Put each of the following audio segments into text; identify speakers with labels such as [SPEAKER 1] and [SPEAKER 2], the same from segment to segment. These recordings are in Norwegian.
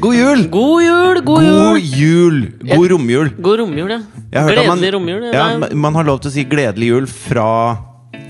[SPEAKER 1] God jul!
[SPEAKER 2] God jul, god
[SPEAKER 1] God
[SPEAKER 2] jul!
[SPEAKER 1] jul! God romjul.
[SPEAKER 2] God romjul, ja.
[SPEAKER 1] Jeg har hørt at man-
[SPEAKER 2] Gledelig romjul. det
[SPEAKER 1] Ja,
[SPEAKER 2] er-
[SPEAKER 1] ma- man har lov til å si gledelig jul fra,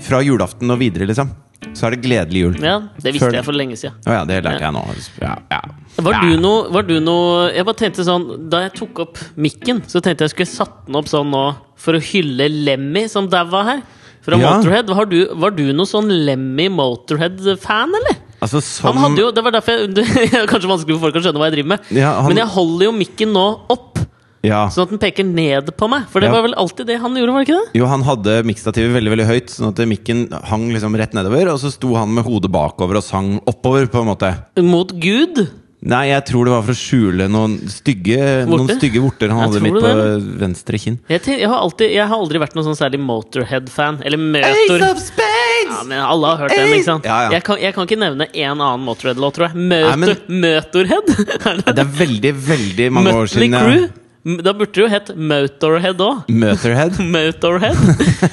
[SPEAKER 1] fra julaften og videre, liksom. Så er det gledelig jul.
[SPEAKER 2] ja, det visste
[SPEAKER 1] Før-
[SPEAKER 2] jeg for lenge siden.
[SPEAKER 1] Å ja, det lærte jeg nå. Ja, ja.
[SPEAKER 2] Var du noe, var du noe Jeg bare tenkte sånn Da jeg tok opp mikken, så tenkte jeg skulle satt den opp sånn nå for å hylle Lemmy, som daua her. Fra
[SPEAKER 1] Ja.
[SPEAKER 2] Motorhead. Har du, var du noe sånn Lemmy Motorhead-fan, eller?
[SPEAKER 1] Altså
[SPEAKER 2] Han
[SPEAKER 1] som
[SPEAKER 2] hadde jo, Det var derfor jeg, det er kanskje vanskelig for folk å skjønne hva jeg driver med.
[SPEAKER 1] Ja, han-
[SPEAKER 2] Men jeg holder jo mikken nå opp,
[SPEAKER 1] ja.
[SPEAKER 2] sånn at den peker ned på meg. For det
[SPEAKER 1] Ja.
[SPEAKER 2] var vel alltid det han gjorde, var det ikke det?
[SPEAKER 1] Jo, han hadde mikkstativet veldig veldig høyt, sånn at mikken hang liksom rett nedover. Og så sto han med hodet bakover og sang oppover, på en måte.
[SPEAKER 2] Mot Gud.
[SPEAKER 1] Nei, jeg tror det var for å skjule noen stygge vorter, noen
[SPEAKER 2] Vorter?
[SPEAKER 1] stygge vorter han
[SPEAKER 2] Jeg
[SPEAKER 1] hadde
[SPEAKER 2] tror
[SPEAKER 1] midt
[SPEAKER 2] det,
[SPEAKER 1] på venstre kinn.
[SPEAKER 2] Jeg, ten- jeg, har alltid, jeg har aldri vært noen sånn særlig Motorhead-fan. Eller Møtor.
[SPEAKER 1] Spades!
[SPEAKER 2] Ja, men alle har hørt den, ikke sant?
[SPEAKER 1] Ja, ja.
[SPEAKER 2] Jeg, kan, jeg kan ikke nevne én annen Motorhead-låt, tror jeg. Møter,
[SPEAKER 1] Nei, men-
[SPEAKER 2] Møtorhead? Er det
[SPEAKER 1] Det er veldig, veldig mange år
[SPEAKER 2] Mötley
[SPEAKER 1] siden
[SPEAKER 2] Crew?
[SPEAKER 1] jeg
[SPEAKER 2] M- Da burde det jo hett Motorhead òg.
[SPEAKER 1] Motherhead.
[SPEAKER 2] Motorhead?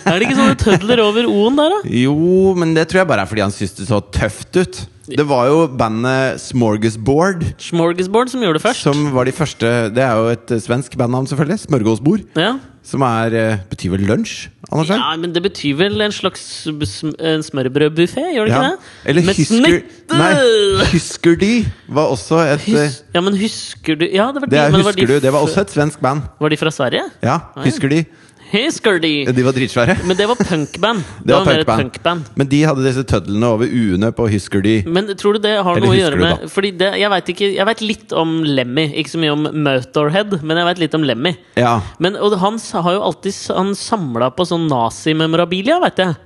[SPEAKER 2] Er det ikke sånne tødler over O-en der, da?
[SPEAKER 1] Jo, men det tror jeg bare er fordi han syntes det så tøft ut. Det var jo bandet Smorgasbord
[SPEAKER 2] Smorgasbord som gjorde det først.
[SPEAKER 1] som var de første Det er jo et eh, svensk bandnavn, selvfølgelig. Smørgåsbord.
[SPEAKER 2] Ja.
[SPEAKER 1] Som er eh, betyr vel lunsj? Anders
[SPEAKER 2] ja, men det betyr vel en slags sm- en smørbrødbuffé, gjør det ikke det?
[SPEAKER 1] Eller
[SPEAKER 2] Med
[SPEAKER 1] Hysker...
[SPEAKER 2] snitte!
[SPEAKER 1] Nei, Hysker de var også et eh,
[SPEAKER 2] Hus ja, men husker du Ja, det var de,
[SPEAKER 1] Det er
[SPEAKER 2] men var de
[SPEAKER 1] Husker du. Det var
[SPEAKER 2] f-
[SPEAKER 1] også et svensk band.
[SPEAKER 2] Var de fra Sverige?
[SPEAKER 1] Ja,
[SPEAKER 2] Ah, ja.
[SPEAKER 1] Husker de?
[SPEAKER 2] Husker de!
[SPEAKER 1] De var dritsvære.
[SPEAKER 2] Men det var punkband. Det,
[SPEAKER 1] var
[SPEAKER 2] var mer et
[SPEAKER 1] punkband.
[SPEAKER 2] punkband.
[SPEAKER 1] Men de hadde disse tødlene over u-ene på Husker de.
[SPEAKER 2] Men tror du det har
[SPEAKER 1] Eller
[SPEAKER 2] noe å
[SPEAKER 1] husker
[SPEAKER 2] gjøre
[SPEAKER 1] du
[SPEAKER 2] med Fordi det, Jeg vet ikke Jeg vet litt om Lemmy, ikke så mye om Motorhead, men jeg vet litt om Lemmy.
[SPEAKER 1] Ja.
[SPEAKER 2] Men og han s- har jo alltid s- Han samla på sånn nazimemorabilia, vet jeg.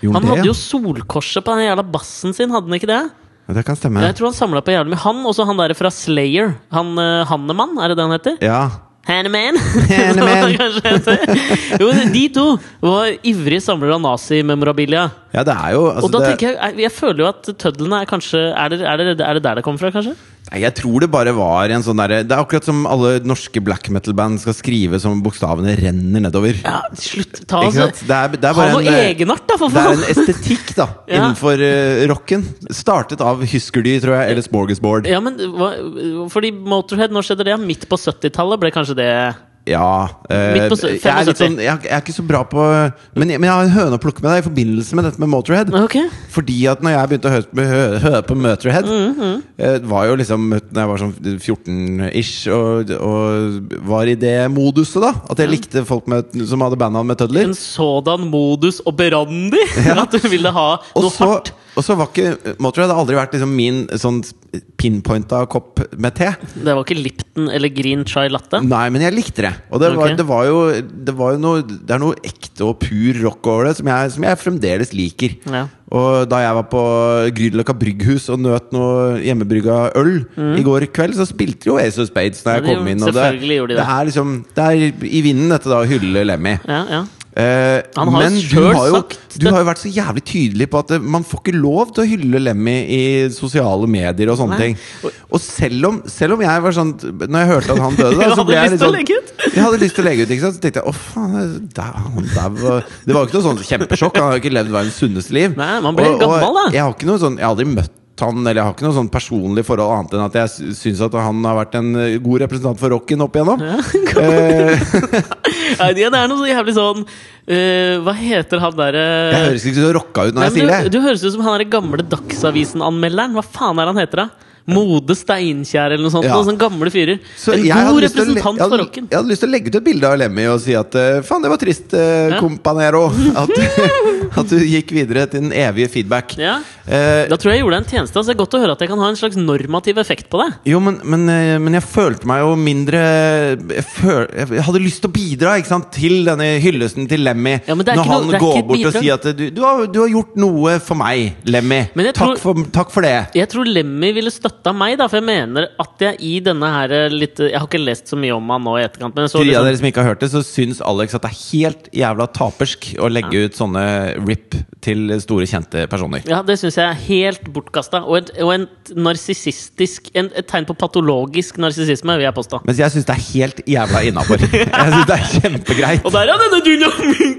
[SPEAKER 1] Gjorde
[SPEAKER 2] Han
[SPEAKER 1] det,
[SPEAKER 2] hadde
[SPEAKER 1] ja.
[SPEAKER 2] jo solkorset på den jævla bassen sin, hadde han ikke det?
[SPEAKER 1] Ja, Det kan stemme.
[SPEAKER 2] Jeg tror han samla på jævlig mye. Han også han derre fra Slayer. Han uh, Hannemann, er det det han heter?
[SPEAKER 1] Ja.
[SPEAKER 2] Hanneman!
[SPEAKER 1] Hanneman.
[SPEAKER 2] Kanskje heter. jo, de to var ivrige samlere av nazimemorabilia.
[SPEAKER 1] ja, det er jo altså,
[SPEAKER 2] Og da
[SPEAKER 1] det,
[SPEAKER 2] tenker jeg, jeg føler jo at tødlene er kanskje er det, er, det, er det der det kommer fra, kanskje?
[SPEAKER 1] Nei, jeg tror det bare var en sånn derre Det er akkurat som alle norske black metal-band skal skrive som bokstavene renner nedover.
[SPEAKER 2] Ja, slutt! Ta
[SPEAKER 1] Ikke
[SPEAKER 2] altså,
[SPEAKER 1] sant? Det er, det
[SPEAKER 2] Ha
[SPEAKER 1] er bare
[SPEAKER 2] noe
[SPEAKER 1] en, eh,
[SPEAKER 2] egenart, da, for
[SPEAKER 1] Det er
[SPEAKER 2] faen!
[SPEAKER 1] en estetikk, da,
[SPEAKER 2] Ja.
[SPEAKER 1] innenfor eh, rocken. Startet av Husker de, tror jeg, eller Smorgasbord.
[SPEAKER 2] Ja, men hva, Fordi Motorhead, når skjedde det? Midt på 70-tallet ble kanskje det
[SPEAKER 1] Ja. eh,
[SPEAKER 2] Midt på se-
[SPEAKER 1] jeg, er litt
[SPEAKER 2] 75.
[SPEAKER 1] sånn, jeg, er- jeg er ikke så bra på men jeg, men jeg har en høne å plukke med deg i forbindelse med dette med Motorhead.
[SPEAKER 2] Ok.
[SPEAKER 1] Fordi at når jeg begynte å høre, hø- høre på Motorhead, eh, var jo liksom Når jeg var sånn 14-ish og, og var i det moduset, da. At jeg likte folk med, som hadde bandnavn med tødler.
[SPEAKER 2] En sådan modus operandi! At du ville ha
[SPEAKER 1] Og
[SPEAKER 2] noe
[SPEAKER 1] så,
[SPEAKER 2] hardt!
[SPEAKER 1] og så var ikke Motorhead har aldri vært liksom min sånn pinpointa kopp med te.
[SPEAKER 2] Det var ikke Lipton eller Green Chai Latte?
[SPEAKER 1] Nei, men jeg likte det. Og det var,
[SPEAKER 2] Ok.
[SPEAKER 1] det var jo, det var jo noe, det er noe ekte og pur rock over det, som jeg, som jeg fremdeles liker.
[SPEAKER 2] Ja.
[SPEAKER 1] Og da jeg var på Grünerløkka brygghus og nøt noe hjemmebrygga øl i går kveld, så spilte jo Ace of Spades da
[SPEAKER 2] Ja,
[SPEAKER 1] jeg
[SPEAKER 2] det
[SPEAKER 1] kom
[SPEAKER 2] gjorde-
[SPEAKER 1] inn. Og
[SPEAKER 2] selvfølgelig gjorde de det.
[SPEAKER 1] det er liksom Det er i vinden, dette, da, å hylle Lemmy.
[SPEAKER 2] Ja, ja.
[SPEAKER 1] Eh,
[SPEAKER 2] Han har jo
[SPEAKER 1] men du
[SPEAKER 2] selv
[SPEAKER 1] har, jo,
[SPEAKER 2] sagt
[SPEAKER 1] du
[SPEAKER 2] det.
[SPEAKER 1] har jo vært så jævlig tydelig på at eh, man får ikke lov til å hylle Lemmy i sosiale medier og
[SPEAKER 2] Nei.
[SPEAKER 1] sånne ting. Og selv om, selv om jeg var sånn Når jeg hørte at han døde, da,
[SPEAKER 2] Du
[SPEAKER 1] så
[SPEAKER 2] hadde
[SPEAKER 1] ble jeg
[SPEAKER 2] lyst til
[SPEAKER 1] litt
[SPEAKER 2] å
[SPEAKER 1] sånn
[SPEAKER 2] legge ut?
[SPEAKER 1] Jeg hadde lyst til å legge ut, ikke sant? Så tenkte jeg å faen, der, han der var Det var jo ikke noe sånn kjempesjokk. Han har jo ikke levd verdens sunneste liv.
[SPEAKER 2] Nei, man blir gammel, da.
[SPEAKER 1] Jeg har ikke noe sånn Jeg har aldri møtt han, eller jeg har ikke noe sånn personlig forhold annet enn at jeg sy- syns at han har vært en eh, god representant for rocken opp igjennom. Eh,
[SPEAKER 2] Nei, det er noe så jævlig sånn eh, Hva heter han eh? derre
[SPEAKER 1] jeg høres ikke så rocka ut når jeg
[SPEAKER 2] Nei,
[SPEAKER 1] sier det.
[SPEAKER 2] men du, du høres ut som han der gamle Dagsavisen-anmelderen. Hva faen er han heter, da? Mode Steinkjer eller noe sånt.
[SPEAKER 1] Ja.
[SPEAKER 2] Noen sånne gamle fyrer.
[SPEAKER 1] Så
[SPEAKER 2] en
[SPEAKER 1] jeg
[SPEAKER 2] god
[SPEAKER 1] hadde lyst til å le-
[SPEAKER 2] representant
[SPEAKER 1] jeg hadde-
[SPEAKER 2] for rocken.
[SPEAKER 1] Jeg hadde lyst til å legge ut et bilde av Lemmy og si at eh, faen, det var trist, eh,
[SPEAKER 2] Ja.
[SPEAKER 1] companero. At, du- at du gikk videre til den evige feedback.
[SPEAKER 2] Ja.
[SPEAKER 1] Eh,
[SPEAKER 2] Da tror jeg jeg gjorde deg en tjeneste. Altså. Det er godt å høre at jeg kan ha en slags normativ effekt på deg.
[SPEAKER 1] jo, men, men, eh, men jeg følte meg jo mindre jeg, føl, jeg hadde lyst til å bidra ikke sant, til denne hyllesten til Lemmy.
[SPEAKER 2] Ja, men det er
[SPEAKER 1] når
[SPEAKER 2] ikke noe-
[SPEAKER 1] han
[SPEAKER 2] det er ikke
[SPEAKER 1] går
[SPEAKER 2] et
[SPEAKER 1] bort og
[SPEAKER 2] bidrag.
[SPEAKER 1] sier at eh, du, du, har, du har gjort noe for meg, Lemmy.
[SPEAKER 2] Men jeg
[SPEAKER 1] Takk,
[SPEAKER 2] tror-
[SPEAKER 1] for, takk for det.
[SPEAKER 2] Jeg tror Lemmy ville støtta meg, da, for jeg mener at jeg i denne her eh, litt Jeg har ikke lest så mye om han nå i etterkant, men jeg så
[SPEAKER 1] For de av
[SPEAKER 2] liksom,
[SPEAKER 1] dere som ikke har hørt det, så syns Alex at det er helt jævla tapersk å legge ut sånne rip til store, kjente personer.
[SPEAKER 2] ja, det syns jeg er helt bortkasta. Og, et, og en narsissistisk en, Et tegn på patologisk narsissisme, vil jeg påstå.
[SPEAKER 1] Mens jeg syns det er helt jævla innafor. Jeg syns det er kjempegreit.
[SPEAKER 2] Og der er denne dynamikken!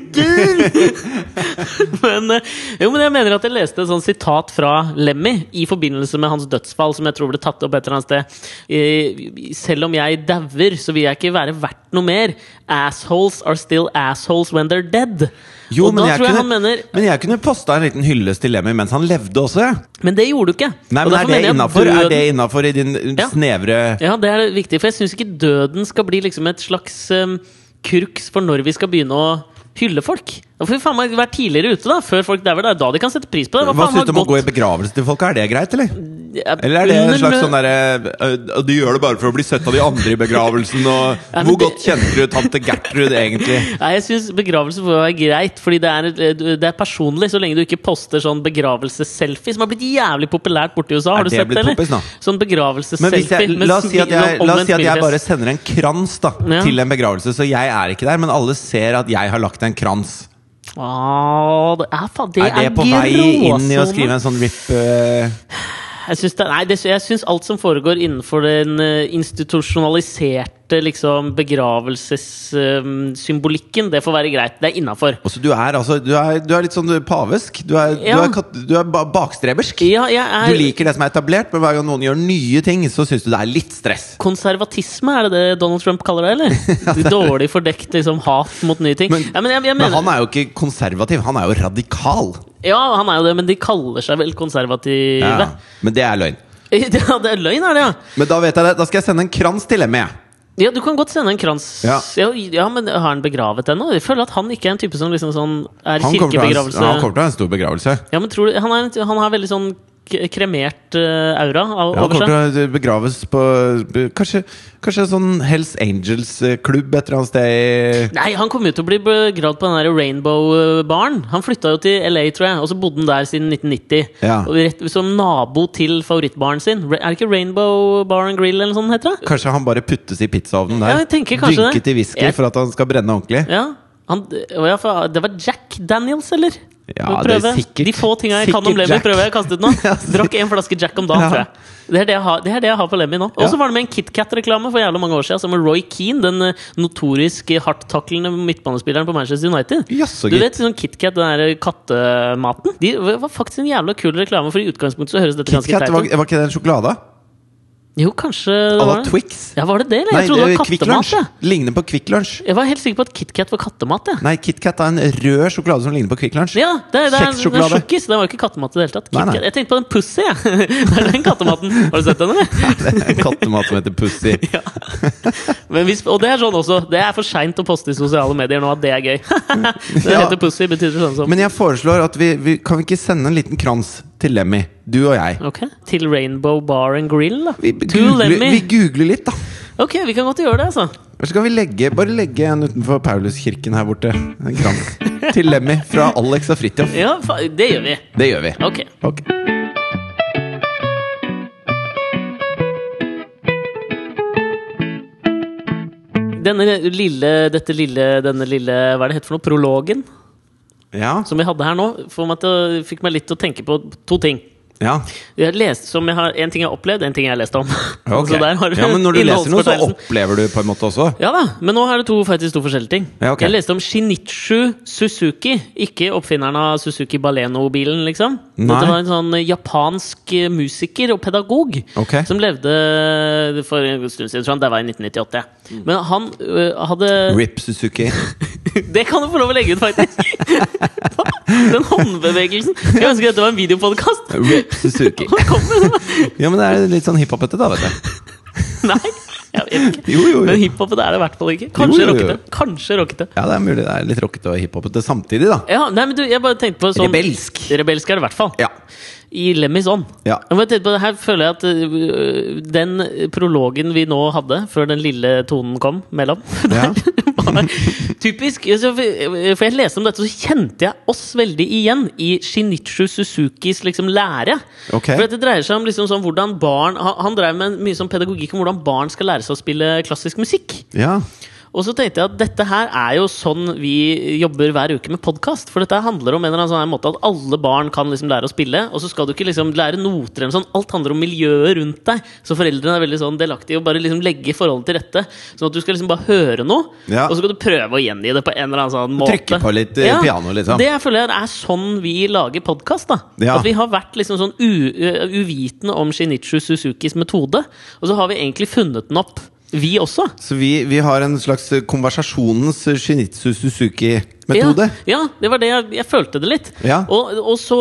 [SPEAKER 2] men, eh, jo, men jeg mener at jeg leste et sånt sitat fra Lemmy i forbindelse med hans dødsfall, som jeg tror ble tatt opp et eller annet sted. Eh, Selv om jeg dauer, så vil jeg ikke være verdt noe mer. Assholes are still assholes when they're dead.
[SPEAKER 1] Jo,
[SPEAKER 2] Og
[SPEAKER 1] men
[SPEAKER 2] da
[SPEAKER 1] jeg,
[SPEAKER 2] tror jeg
[SPEAKER 1] kunne,
[SPEAKER 2] han mener
[SPEAKER 1] men jeg kunne posta en liten hyllest til Lemmy mens han levde også. jeg.
[SPEAKER 2] Men det gjorde du ikke.
[SPEAKER 1] Nei,
[SPEAKER 2] Og
[SPEAKER 1] men
[SPEAKER 2] derfor
[SPEAKER 1] Er det
[SPEAKER 2] mener jeg
[SPEAKER 1] innafor
[SPEAKER 2] brøden-
[SPEAKER 1] i din
[SPEAKER 2] Ja.
[SPEAKER 1] snevre
[SPEAKER 2] Ja, det er viktig, for jeg syns ikke døden skal bli liksom et slags um, kurks for når vi skal begynne å hylle folk. Da får vi faen meg være tidligere ute, da, før folk dauer. Det er da de kan sette pris på det.
[SPEAKER 1] Hva
[SPEAKER 2] faen
[SPEAKER 1] syns du
[SPEAKER 2] har
[SPEAKER 1] om å
[SPEAKER 2] gått-
[SPEAKER 1] gå i begravelse til folk? Er det greit, eller?
[SPEAKER 2] Ja,
[SPEAKER 1] Eller er det en
[SPEAKER 2] under-
[SPEAKER 1] slags sånn derre øh, Du gjør det bare for å bli sett av de andre i begravelsen, og
[SPEAKER 2] Ja, men
[SPEAKER 1] Hvor
[SPEAKER 2] det-
[SPEAKER 1] godt kjenner du tante Gertrud, egentlig?
[SPEAKER 2] Nei, jeg syns begravelse får være greit, fordi det er, et- eh, det er personlig. Så lenge du ikke poster sånn begravelsesselfie, som har blitt jævlig populært borti USA. Har
[SPEAKER 1] Er
[SPEAKER 2] du sett
[SPEAKER 1] det
[SPEAKER 2] det,
[SPEAKER 1] blitt
[SPEAKER 2] eller?
[SPEAKER 1] poppis nå?
[SPEAKER 2] Sånn
[SPEAKER 1] Men hvis jeg,
[SPEAKER 2] begravelsesselfie. med
[SPEAKER 1] la oss si at jeg,
[SPEAKER 2] smil-
[SPEAKER 1] la oss si at jeg
[SPEAKER 2] omvendt
[SPEAKER 1] bare
[SPEAKER 2] smilefjes.
[SPEAKER 1] sender en krans da
[SPEAKER 2] Ja.
[SPEAKER 1] til en begravelse, så jeg er ikke der, men alle ser at jeg har lagt en krans.
[SPEAKER 2] Åh, det er faen Det
[SPEAKER 1] Er det på vei inn i å skrive en sånn rip øh,
[SPEAKER 2] Jeg syns, det, nei, det, jeg syns alt som foregår innenfor den eh, institusjonaliserte liksom, begravelsessymbolikken, det får være greit. Det er innafor.
[SPEAKER 1] Altså, du er, altså, du er, du er litt sånn pavesk. Du er, du
[SPEAKER 2] Ja.
[SPEAKER 1] er, kat- du er ba bakstrebersk.
[SPEAKER 2] Ja, jeg er
[SPEAKER 1] Du liker det som er etablert, men hver gang noen gjør nye ting, så syns du det er litt stress.
[SPEAKER 2] Konservatisme, er det det Donald Trump kaller det? eller? Dårlig fordekt liksom, hat mot nye ting.
[SPEAKER 1] Men-
[SPEAKER 2] ja, men jeg, jeg
[SPEAKER 1] Men
[SPEAKER 2] mener,
[SPEAKER 1] han er jo ikke konservativ, han er jo radikal.
[SPEAKER 2] ja, han er jo det, men de kaller seg vel konservative.
[SPEAKER 1] Ja. Men det er løgn.
[SPEAKER 2] Ja, det er løgn, er det, ja?
[SPEAKER 1] Men da vet jeg det, da skal jeg sende en krans til E. Emmy. jeg.
[SPEAKER 2] Ja, Du kan godt sende en krans.
[SPEAKER 1] Ja.
[SPEAKER 2] Ja, ja, men Har han begravet den nå? Jeg føler at han ikke er en type som liksom sånn er
[SPEAKER 1] Han kommer til å ha en-
[SPEAKER 2] kirkebegravelse.
[SPEAKER 1] han kommer til å ha en stor begravelse.
[SPEAKER 2] Ja, men tror du, han, er, han har veldig sånn k- kremert eh, aura av,
[SPEAKER 1] Han
[SPEAKER 2] over seg.
[SPEAKER 1] kommer til å begraves på be- Kanskje, kanskje en sånn Hells Angels-klubb et eller annet sted i
[SPEAKER 2] Nei, han kommer jo til å bli begravd på den der Rainbow-baren. Han flytta jo til LA, tror jeg, og så bodde han der siden 1990.
[SPEAKER 1] Ja.
[SPEAKER 2] Og rett, som nabo til favorittbaren sin. Ra- Er det ikke Rainbow Bar and Grill eller noe sånt heter det?
[SPEAKER 1] Kanskje han bare puttes i pizzaovnen
[SPEAKER 2] Ja,
[SPEAKER 1] der?
[SPEAKER 2] jeg tenker kanskje det.
[SPEAKER 1] Dynket i whisky
[SPEAKER 2] Jeg-
[SPEAKER 1] for at han skal brenne ordentlig?
[SPEAKER 2] Ja. Han, å ja, for- det var Jack Daniels, eller?
[SPEAKER 1] Ja,
[SPEAKER 2] Må
[SPEAKER 1] det er
[SPEAKER 2] prøve.
[SPEAKER 1] sikkert-
[SPEAKER 2] De få tinga jeg kan
[SPEAKER 1] sikkert
[SPEAKER 2] om Lemmy,
[SPEAKER 1] Jack.
[SPEAKER 2] prøver jeg å kaste ut nå.
[SPEAKER 1] Ja, sikkert.
[SPEAKER 2] Drakk en flaske Jack om dagen,
[SPEAKER 1] Ja.
[SPEAKER 2] tror jeg. Det er det jeg har, det er det jeg har på Lemmy nå. Og
[SPEAKER 1] Ja.
[SPEAKER 2] så var det med en KitKat-reklame for jævla mange år siden, som med Roy Keane, den eh, notorisk hardttaklende midtbanespilleren på Manchester United.
[SPEAKER 1] Jaså,
[SPEAKER 2] Du
[SPEAKER 1] gitt.
[SPEAKER 2] vet sånn KitKat, den der kattematen? De det var faktisk en jævla kul reklame, for i utgangspunktet så høres dette ganske
[SPEAKER 1] KitKat,
[SPEAKER 2] teit
[SPEAKER 1] var,
[SPEAKER 2] ut.
[SPEAKER 1] var ikke det en sjokolade?
[SPEAKER 2] Jo, kanskje
[SPEAKER 1] À
[SPEAKER 2] det
[SPEAKER 1] la
[SPEAKER 2] var det?
[SPEAKER 1] Twix? eh,
[SPEAKER 2] Ja, var det det, eller? Jeg trodde det var
[SPEAKER 1] Kvikk
[SPEAKER 2] kattemat.
[SPEAKER 1] Lunsj.
[SPEAKER 2] jeg.
[SPEAKER 1] Ligner på Kvikk Lunsj.
[SPEAKER 2] Jeg var helt sikker på at KitKat var kattemat, jeg.
[SPEAKER 1] Nei, KitKat er en rød sjokolade som ligner på Kvikk Lunsj.
[SPEAKER 2] Ja, det, er- det, er- det er
[SPEAKER 1] Kjekssjokolade.
[SPEAKER 2] sjokkis. Det var jo ikke kattemat i det hele tatt.
[SPEAKER 1] Nei, nei.
[SPEAKER 2] KitKat. Jeg tenkte på den Pussy, jeg. Det er den kattematen. Har du sett den, eller?
[SPEAKER 1] Det er en kattemat som heter Pussy.
[SPEAKER 2] Men hvis, og det er sånn også. Det er for seint å poste i sosiale medier nå at det er gøy. Det
[SPEAKER 1] Ja.
[SPEAKER 2] heter Pussy, betyr det sånn som
[SPEAKER 1] Men jeg foreslår at vi, vi Kan vi ikke sende en liten krans til Lemmy? Du og jeg.
[SPEAKER 2] Ok, Til Rainbow Bar and Grill, da.
[SPEAKER 1] Vi
[SPEAKER 2] to
[SPEAKER 1] googler, vi
[SPEAKER 2] Lemmy.
[SPEAKER 1] googler litt, da.
[SPEAKER 2] Ok, vi kan godt gjøre det, altså.
[SPEAKER 1] Eller så kan vi legge, bare legge en utenfor Pauluskirken her borte. En krans til Lemmy fra Alex og Fridtjof.
[SPEAKER 2] Ja, fa det gjør vi.
[SPEAKER 1] Det gjør vi.
[SPEAKER 2] Ok.
[SPEAKER 1] Ok.
[SPEAKER 2] Denne lille, dette lille, denne lille Hva er det heter for noe? Prologen
[SPEAKER 1] Ja.
[SPEAKER 2] som vi hadde her nå, får meg til, å- fikk meg litt til å tenke på to ting.
[SPEAKER 1] ja.
[SPEAKER 2] Jeg leste, som jeg har, en ting jeg har opplevd, en ting jeg har lest om.
[SPEAKER 1] Ok.
[SPEAKER 2] Så der har du
[SPEAKER 1] ja men når du leser noe, så
[SPEAKER 2] innholdsfortegnelsen.
[SPEAKER 1] opplever du på en måte også?
[SPEAKER 2] Ja da, men nå er det to, faktisk to forskjellige ting.
[SPEAKER 1] Ja, ok.
[SPEAKER 2] Jeg leste om Shinichu Suzuki. Ikke oppfinneren av Suzuki Baleno-bilen, liksom.
[SPEAKER 1] Nei.
[SPEAKER 2] Dette var en sånn japansk eh, musiker og pedagog
[SPEAKER 1] Ok.
[SPEAKER 2] som levde for en god stund siden. tror jeg. Det var i 1998.
[SPEAKER 1] Mm.
[SPEAKER 2] Men han ø, hadde
[SPEAKER 1] Rip Suzuki.
[SPEAKER 2] Det kan du få lov å legge ut, faktisk! Den håndbevegelsen. Jeg ønsker dette var en videopodkast.
[SPEAKER 1] Rip Suzuki. Ja, men det er litt sånn hiphopete, da, vet du.
[SPEAKER 2] Nei, jeg vet ikke.
[SPEAKER 1] Jo, jo, jo.
[SPEAKER 2] Men hiphop det er det i hvert fall ikke. Kanskje
[SPEAKER 1] Jo, jo, jo.
[SPEAKER 2] rockete. Kanskje rockete.
[SPEAKER 1] Ja, det er mulig det er litt rockete og hiphopete samtidig, da.
[SPEAKER 2] Ja, nei, men du, jeg bare tenkte på sånn
[SPEAKER 1] Rebelsk.
[SPEAKER 2] Rebelsk er det i hvert fall.
[SPEAKER 1] Ja.
[SPEAKER 2] I Lemmys ånd.
[SPEAKER 1] Ja.
[SPEAKER 2] Jeg bare tenkte på det Her føler jeg at øh, den prologen vi nå hadde, før den lille tonen kom mellom
[SPEAKER 1] Ja.
[SPEAKER 2] var Typisk. altså, For for jeg leste om dette, så kjente jeg oss veldig igjen i Shinichu Suzukis liksom lære.
[SPEAKER 1] Ok.
[SPEAKER 2] For dette dreier seg om liksom sånn hvordan barn Han, han drev med mye sånn pedagogikk om hvordan barn skal lære seg å spille klassisk musikk.
[SPEAKER 1] Ja.
[SPEAKER 2] Og så tenkte jeg at dette her er jo sånn vi jobber hver uke med podkast. For dette handler om en eller annen sånn her måte at alle barn kan liksom lære å spille. Og så skal du ikke liksom lære noter eller noe sånt. Alt handler om miljøet rundt deg. Så foreldrene er veldig sånn delaktige og bare liksom legge forholdene til rette. Sånn at du skal liksom bare høre noe,
[SPEAKER 1] Ja.
[SPEAKER 2] og så skal du prøve å gjengi det på en eller annen sånn måte.
[SPEAKER 1] Trykke på litt, eh, piano, liksom.
[SPEAKER 2] Det jeg føler er sånn vi lager podkast.
[SPEAKER 1] Ja.
[SPEAKER 2] At vi har vært liksom sånn u ø, uvitende om Shinichu Suzukis metode. Og så har vi egentlig funnet den opp, vi også.
[SPEAKER 1] Så vi, vi har en slags konversasjonens Shinitsu Suzuki-metode.
[SPEAKER 2] Ja, ja, det var det jeg, jeg følte det litt.
[SPEAKER 1] Ja.
[SPEAKER 2] Og, og så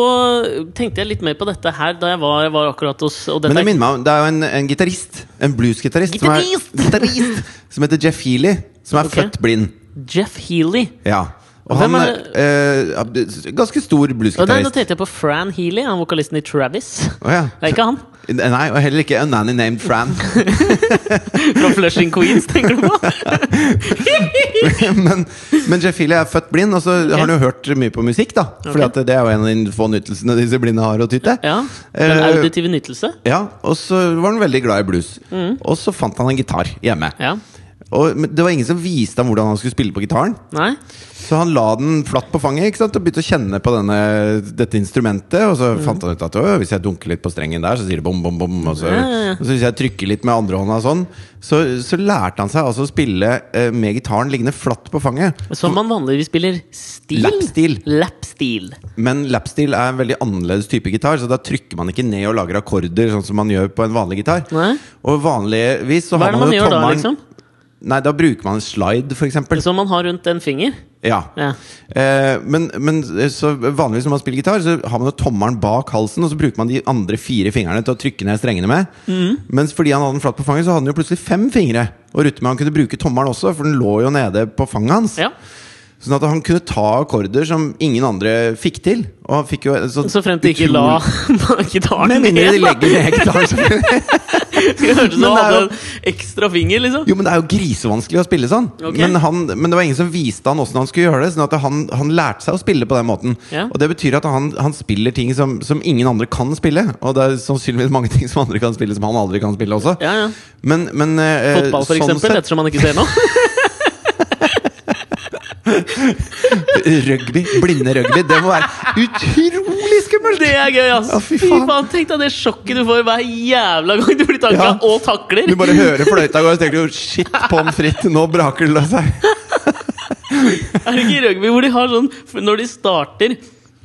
[SPEAKER 2] tenkte jeg litt mer på dette her da jeg var, jeg var akkurat hos og dette
[SPEAKER 1] Men det
[SPEAKER 2] er-
[SPEAKER 1] minner meg om Det er jo en, en gitarist. En bluesgitarrist. som er-
[SPEAKER 2] Gitarist!
[SPEAKER 1] Gitarrist! Som heter Jeff Healy. Som er
[SPEAKER 2] Ok.
[SPEAKER 1] født blind.
[SPEAKER 2] Jeff Healy.
[SPEAKER 1] Ja. Og
[SPEAKER 2] Hvem
[SPEAKER 1] han
[SPEAKER 2] er
[SPEAKER 1] er eh, ganske
[SPEAKER 2] Og
[SPEAKER 1] stor
[SPEAKER 2] der, nå
[SPEAKER 1] bluesgitarrist.
[SPEAKER 2] tenkte jeg på Fran Healy, han vokalisten i Travis.
[SPEAKER 1] Å ja.
[SPEAKER 2] Det er ikke han.
[SPEAKER 1] Nei, og heller ikke A Nanny Named Fran.
[SPEAKER 2] Fra Flushing Queens, tenker du på?
[SPEAKER 1] men, men Jeff Healy er født blind, og så har han jo hørt mye på musikk. da Fordi
[SPEAKER 2] Ok.
[SPEAKER 1] at det er jo en av de få nytelsene disse blinde har å ty til.
[SPEAKER 2] Ja. Den
[SPEAKER 1] Eh,
[SPEAKER 2] auditive nytelse.
[SPEAKER 1] ja, og så var han veldig glad i blues.
[SPEAKER 2] Mm.
[SPEAKER 1] Og så fant han en gitar hjemme.
[SPEAKER 2] Ja.
[SPEAKER 1] Og, men det var ingen som viste ham hvordan han skulle spille på gitaren.
[SPEAKER 2] Nei?
[SPEAKER 1] Så han la den flatt på fanget ikke sant? og begynte å kjenne på denne, dette instrumentet. Og så fant han ut at «Å, hvis jeg dunker litt på strengen der, så sier det bom, bom, bom. Og så,
[SPEAKER 2] Ja, ja, ja.
[SPEAKER 1] og så hvis jeg trykker litt med andrehånda og sånn, så, så lærte han seg altså å spille eh, med gitaren liggende flatt på fanget.
[SPEAKER 2] Som man vanligvis spiller stil.
[SPEAKER 1] Lapstil.
[SPEAKER 2] Lapstil.
[SPEAKER 1] Men lapsteel er en veldig annerledes type gitar, så da trykker man ikke ned og lager akkorder, sånn som man gjør på en vanlig gitar.
[SPEAKER 2] Nei.
[SPEAKER 1] Og vanligvis så
[SPEAKER 2] Hva
[SPEAKER 1] har
[SPEAKER 2] er det
[SPEAKER 1] man,
[SPEAKER 2] man
[SPEAKER 1] jo
[SPEAKER 2] gjør da,
[SPEAKER 1] tommelen
[SPEAKER 2] liksom?
[SPEAKER 1] Nei, da bruker man en slide, for eksempel.
[SPEAKER 2] Som man har rundt en finger?
[SPEAKER 1] Ja.
[SPEAKER 2] Ja.
[SPEAKER 1] Eh, men, men så vanligvis når man spiller gitar, så har man jo tommelen bak halsen, og så bruker man de andre fire fingrene til å trykke ned strengene med.
[SPEAKER 2] Mm.
[SPEAKER 1] Mens fordi han hadde den flatt på fanget, så hadde han jo plutselig fem fingre å rutte med. Han kunne bruke tommelen også, for den lå jo nede på fanget hans.
[SPEAKER 2] ja.
[SPEAKER 1] Sånn at han kunne ta akkorder som ingen andre fikk til. Og han fikk jo et sånt
[SPEAKER 2] Så frem til ikke la
[SPEAKER 1] utrolig-
[SPEAKER 2] gitaren
[SPEAKER 1] Med mindre de legger ned gitaren. selvfølgelig.
[SPEAKER 2] Det hørtes ut
[SPEAKER 1] Men
[SPEAKER 2] som
[SPEAKER 1] det
[SPEAKER 2] han
[SPEAKER 1] er
[SPEAKER 2] hadde
[SPEAKER 1] jo-
[SPEAKER 2] en ekstra finger, liksom.
[SPEAKER 1] Jo, men det er jo grisevanskelig å spille sånn.
[SPEAKER 2] Ok.
[SPEAKER 1] Men, han, men det var ingen som viste han åssen han skulle gjøre det. Sånn at han, han lærte seg å spille på den måten.
[SPEAKER 2] Ja.
[SPEAKER 1] Og det betyr at han, han spiller ting som, som ingen andre kan spille. Og det er sannsynligvis mange ting som andre kan spille, som han aldri kan spille også.
[SPEAKER 2] Ja, ja.
[SPEAKER 1] Men, men eh,
[SPEAKER 2] Fotball, for
[SPEAKER 1] sånn
[SPEAKER 2] eksempel, ettersom han ikke ser noe.
[SPEAKER 1] sett, rugby, blinde rugby, det må være utrolig skummelt!
[SPEAKER 2] Det er gøy, ass!
[SPEAKER 1] Ja,
[SPEAKER 2] fy
[SPEAKER 1] fy
[SPEAKER 2] faen.
[SPEAKER 1] faen.
[SPEAKER 2] Tenk deg det sjokket du får hver jævla gang du blir tanka
[SPEAKER 1] Ja.
[SPEAKER 2] og takler!
[SPEAKER 1] Du bare hører fløyta gå, og så tenker du 'shit, pommes frites', nå braker det løs her.
[SPEAKER 2] Er det ikke i rugby hvor de har sånn for Når de starter,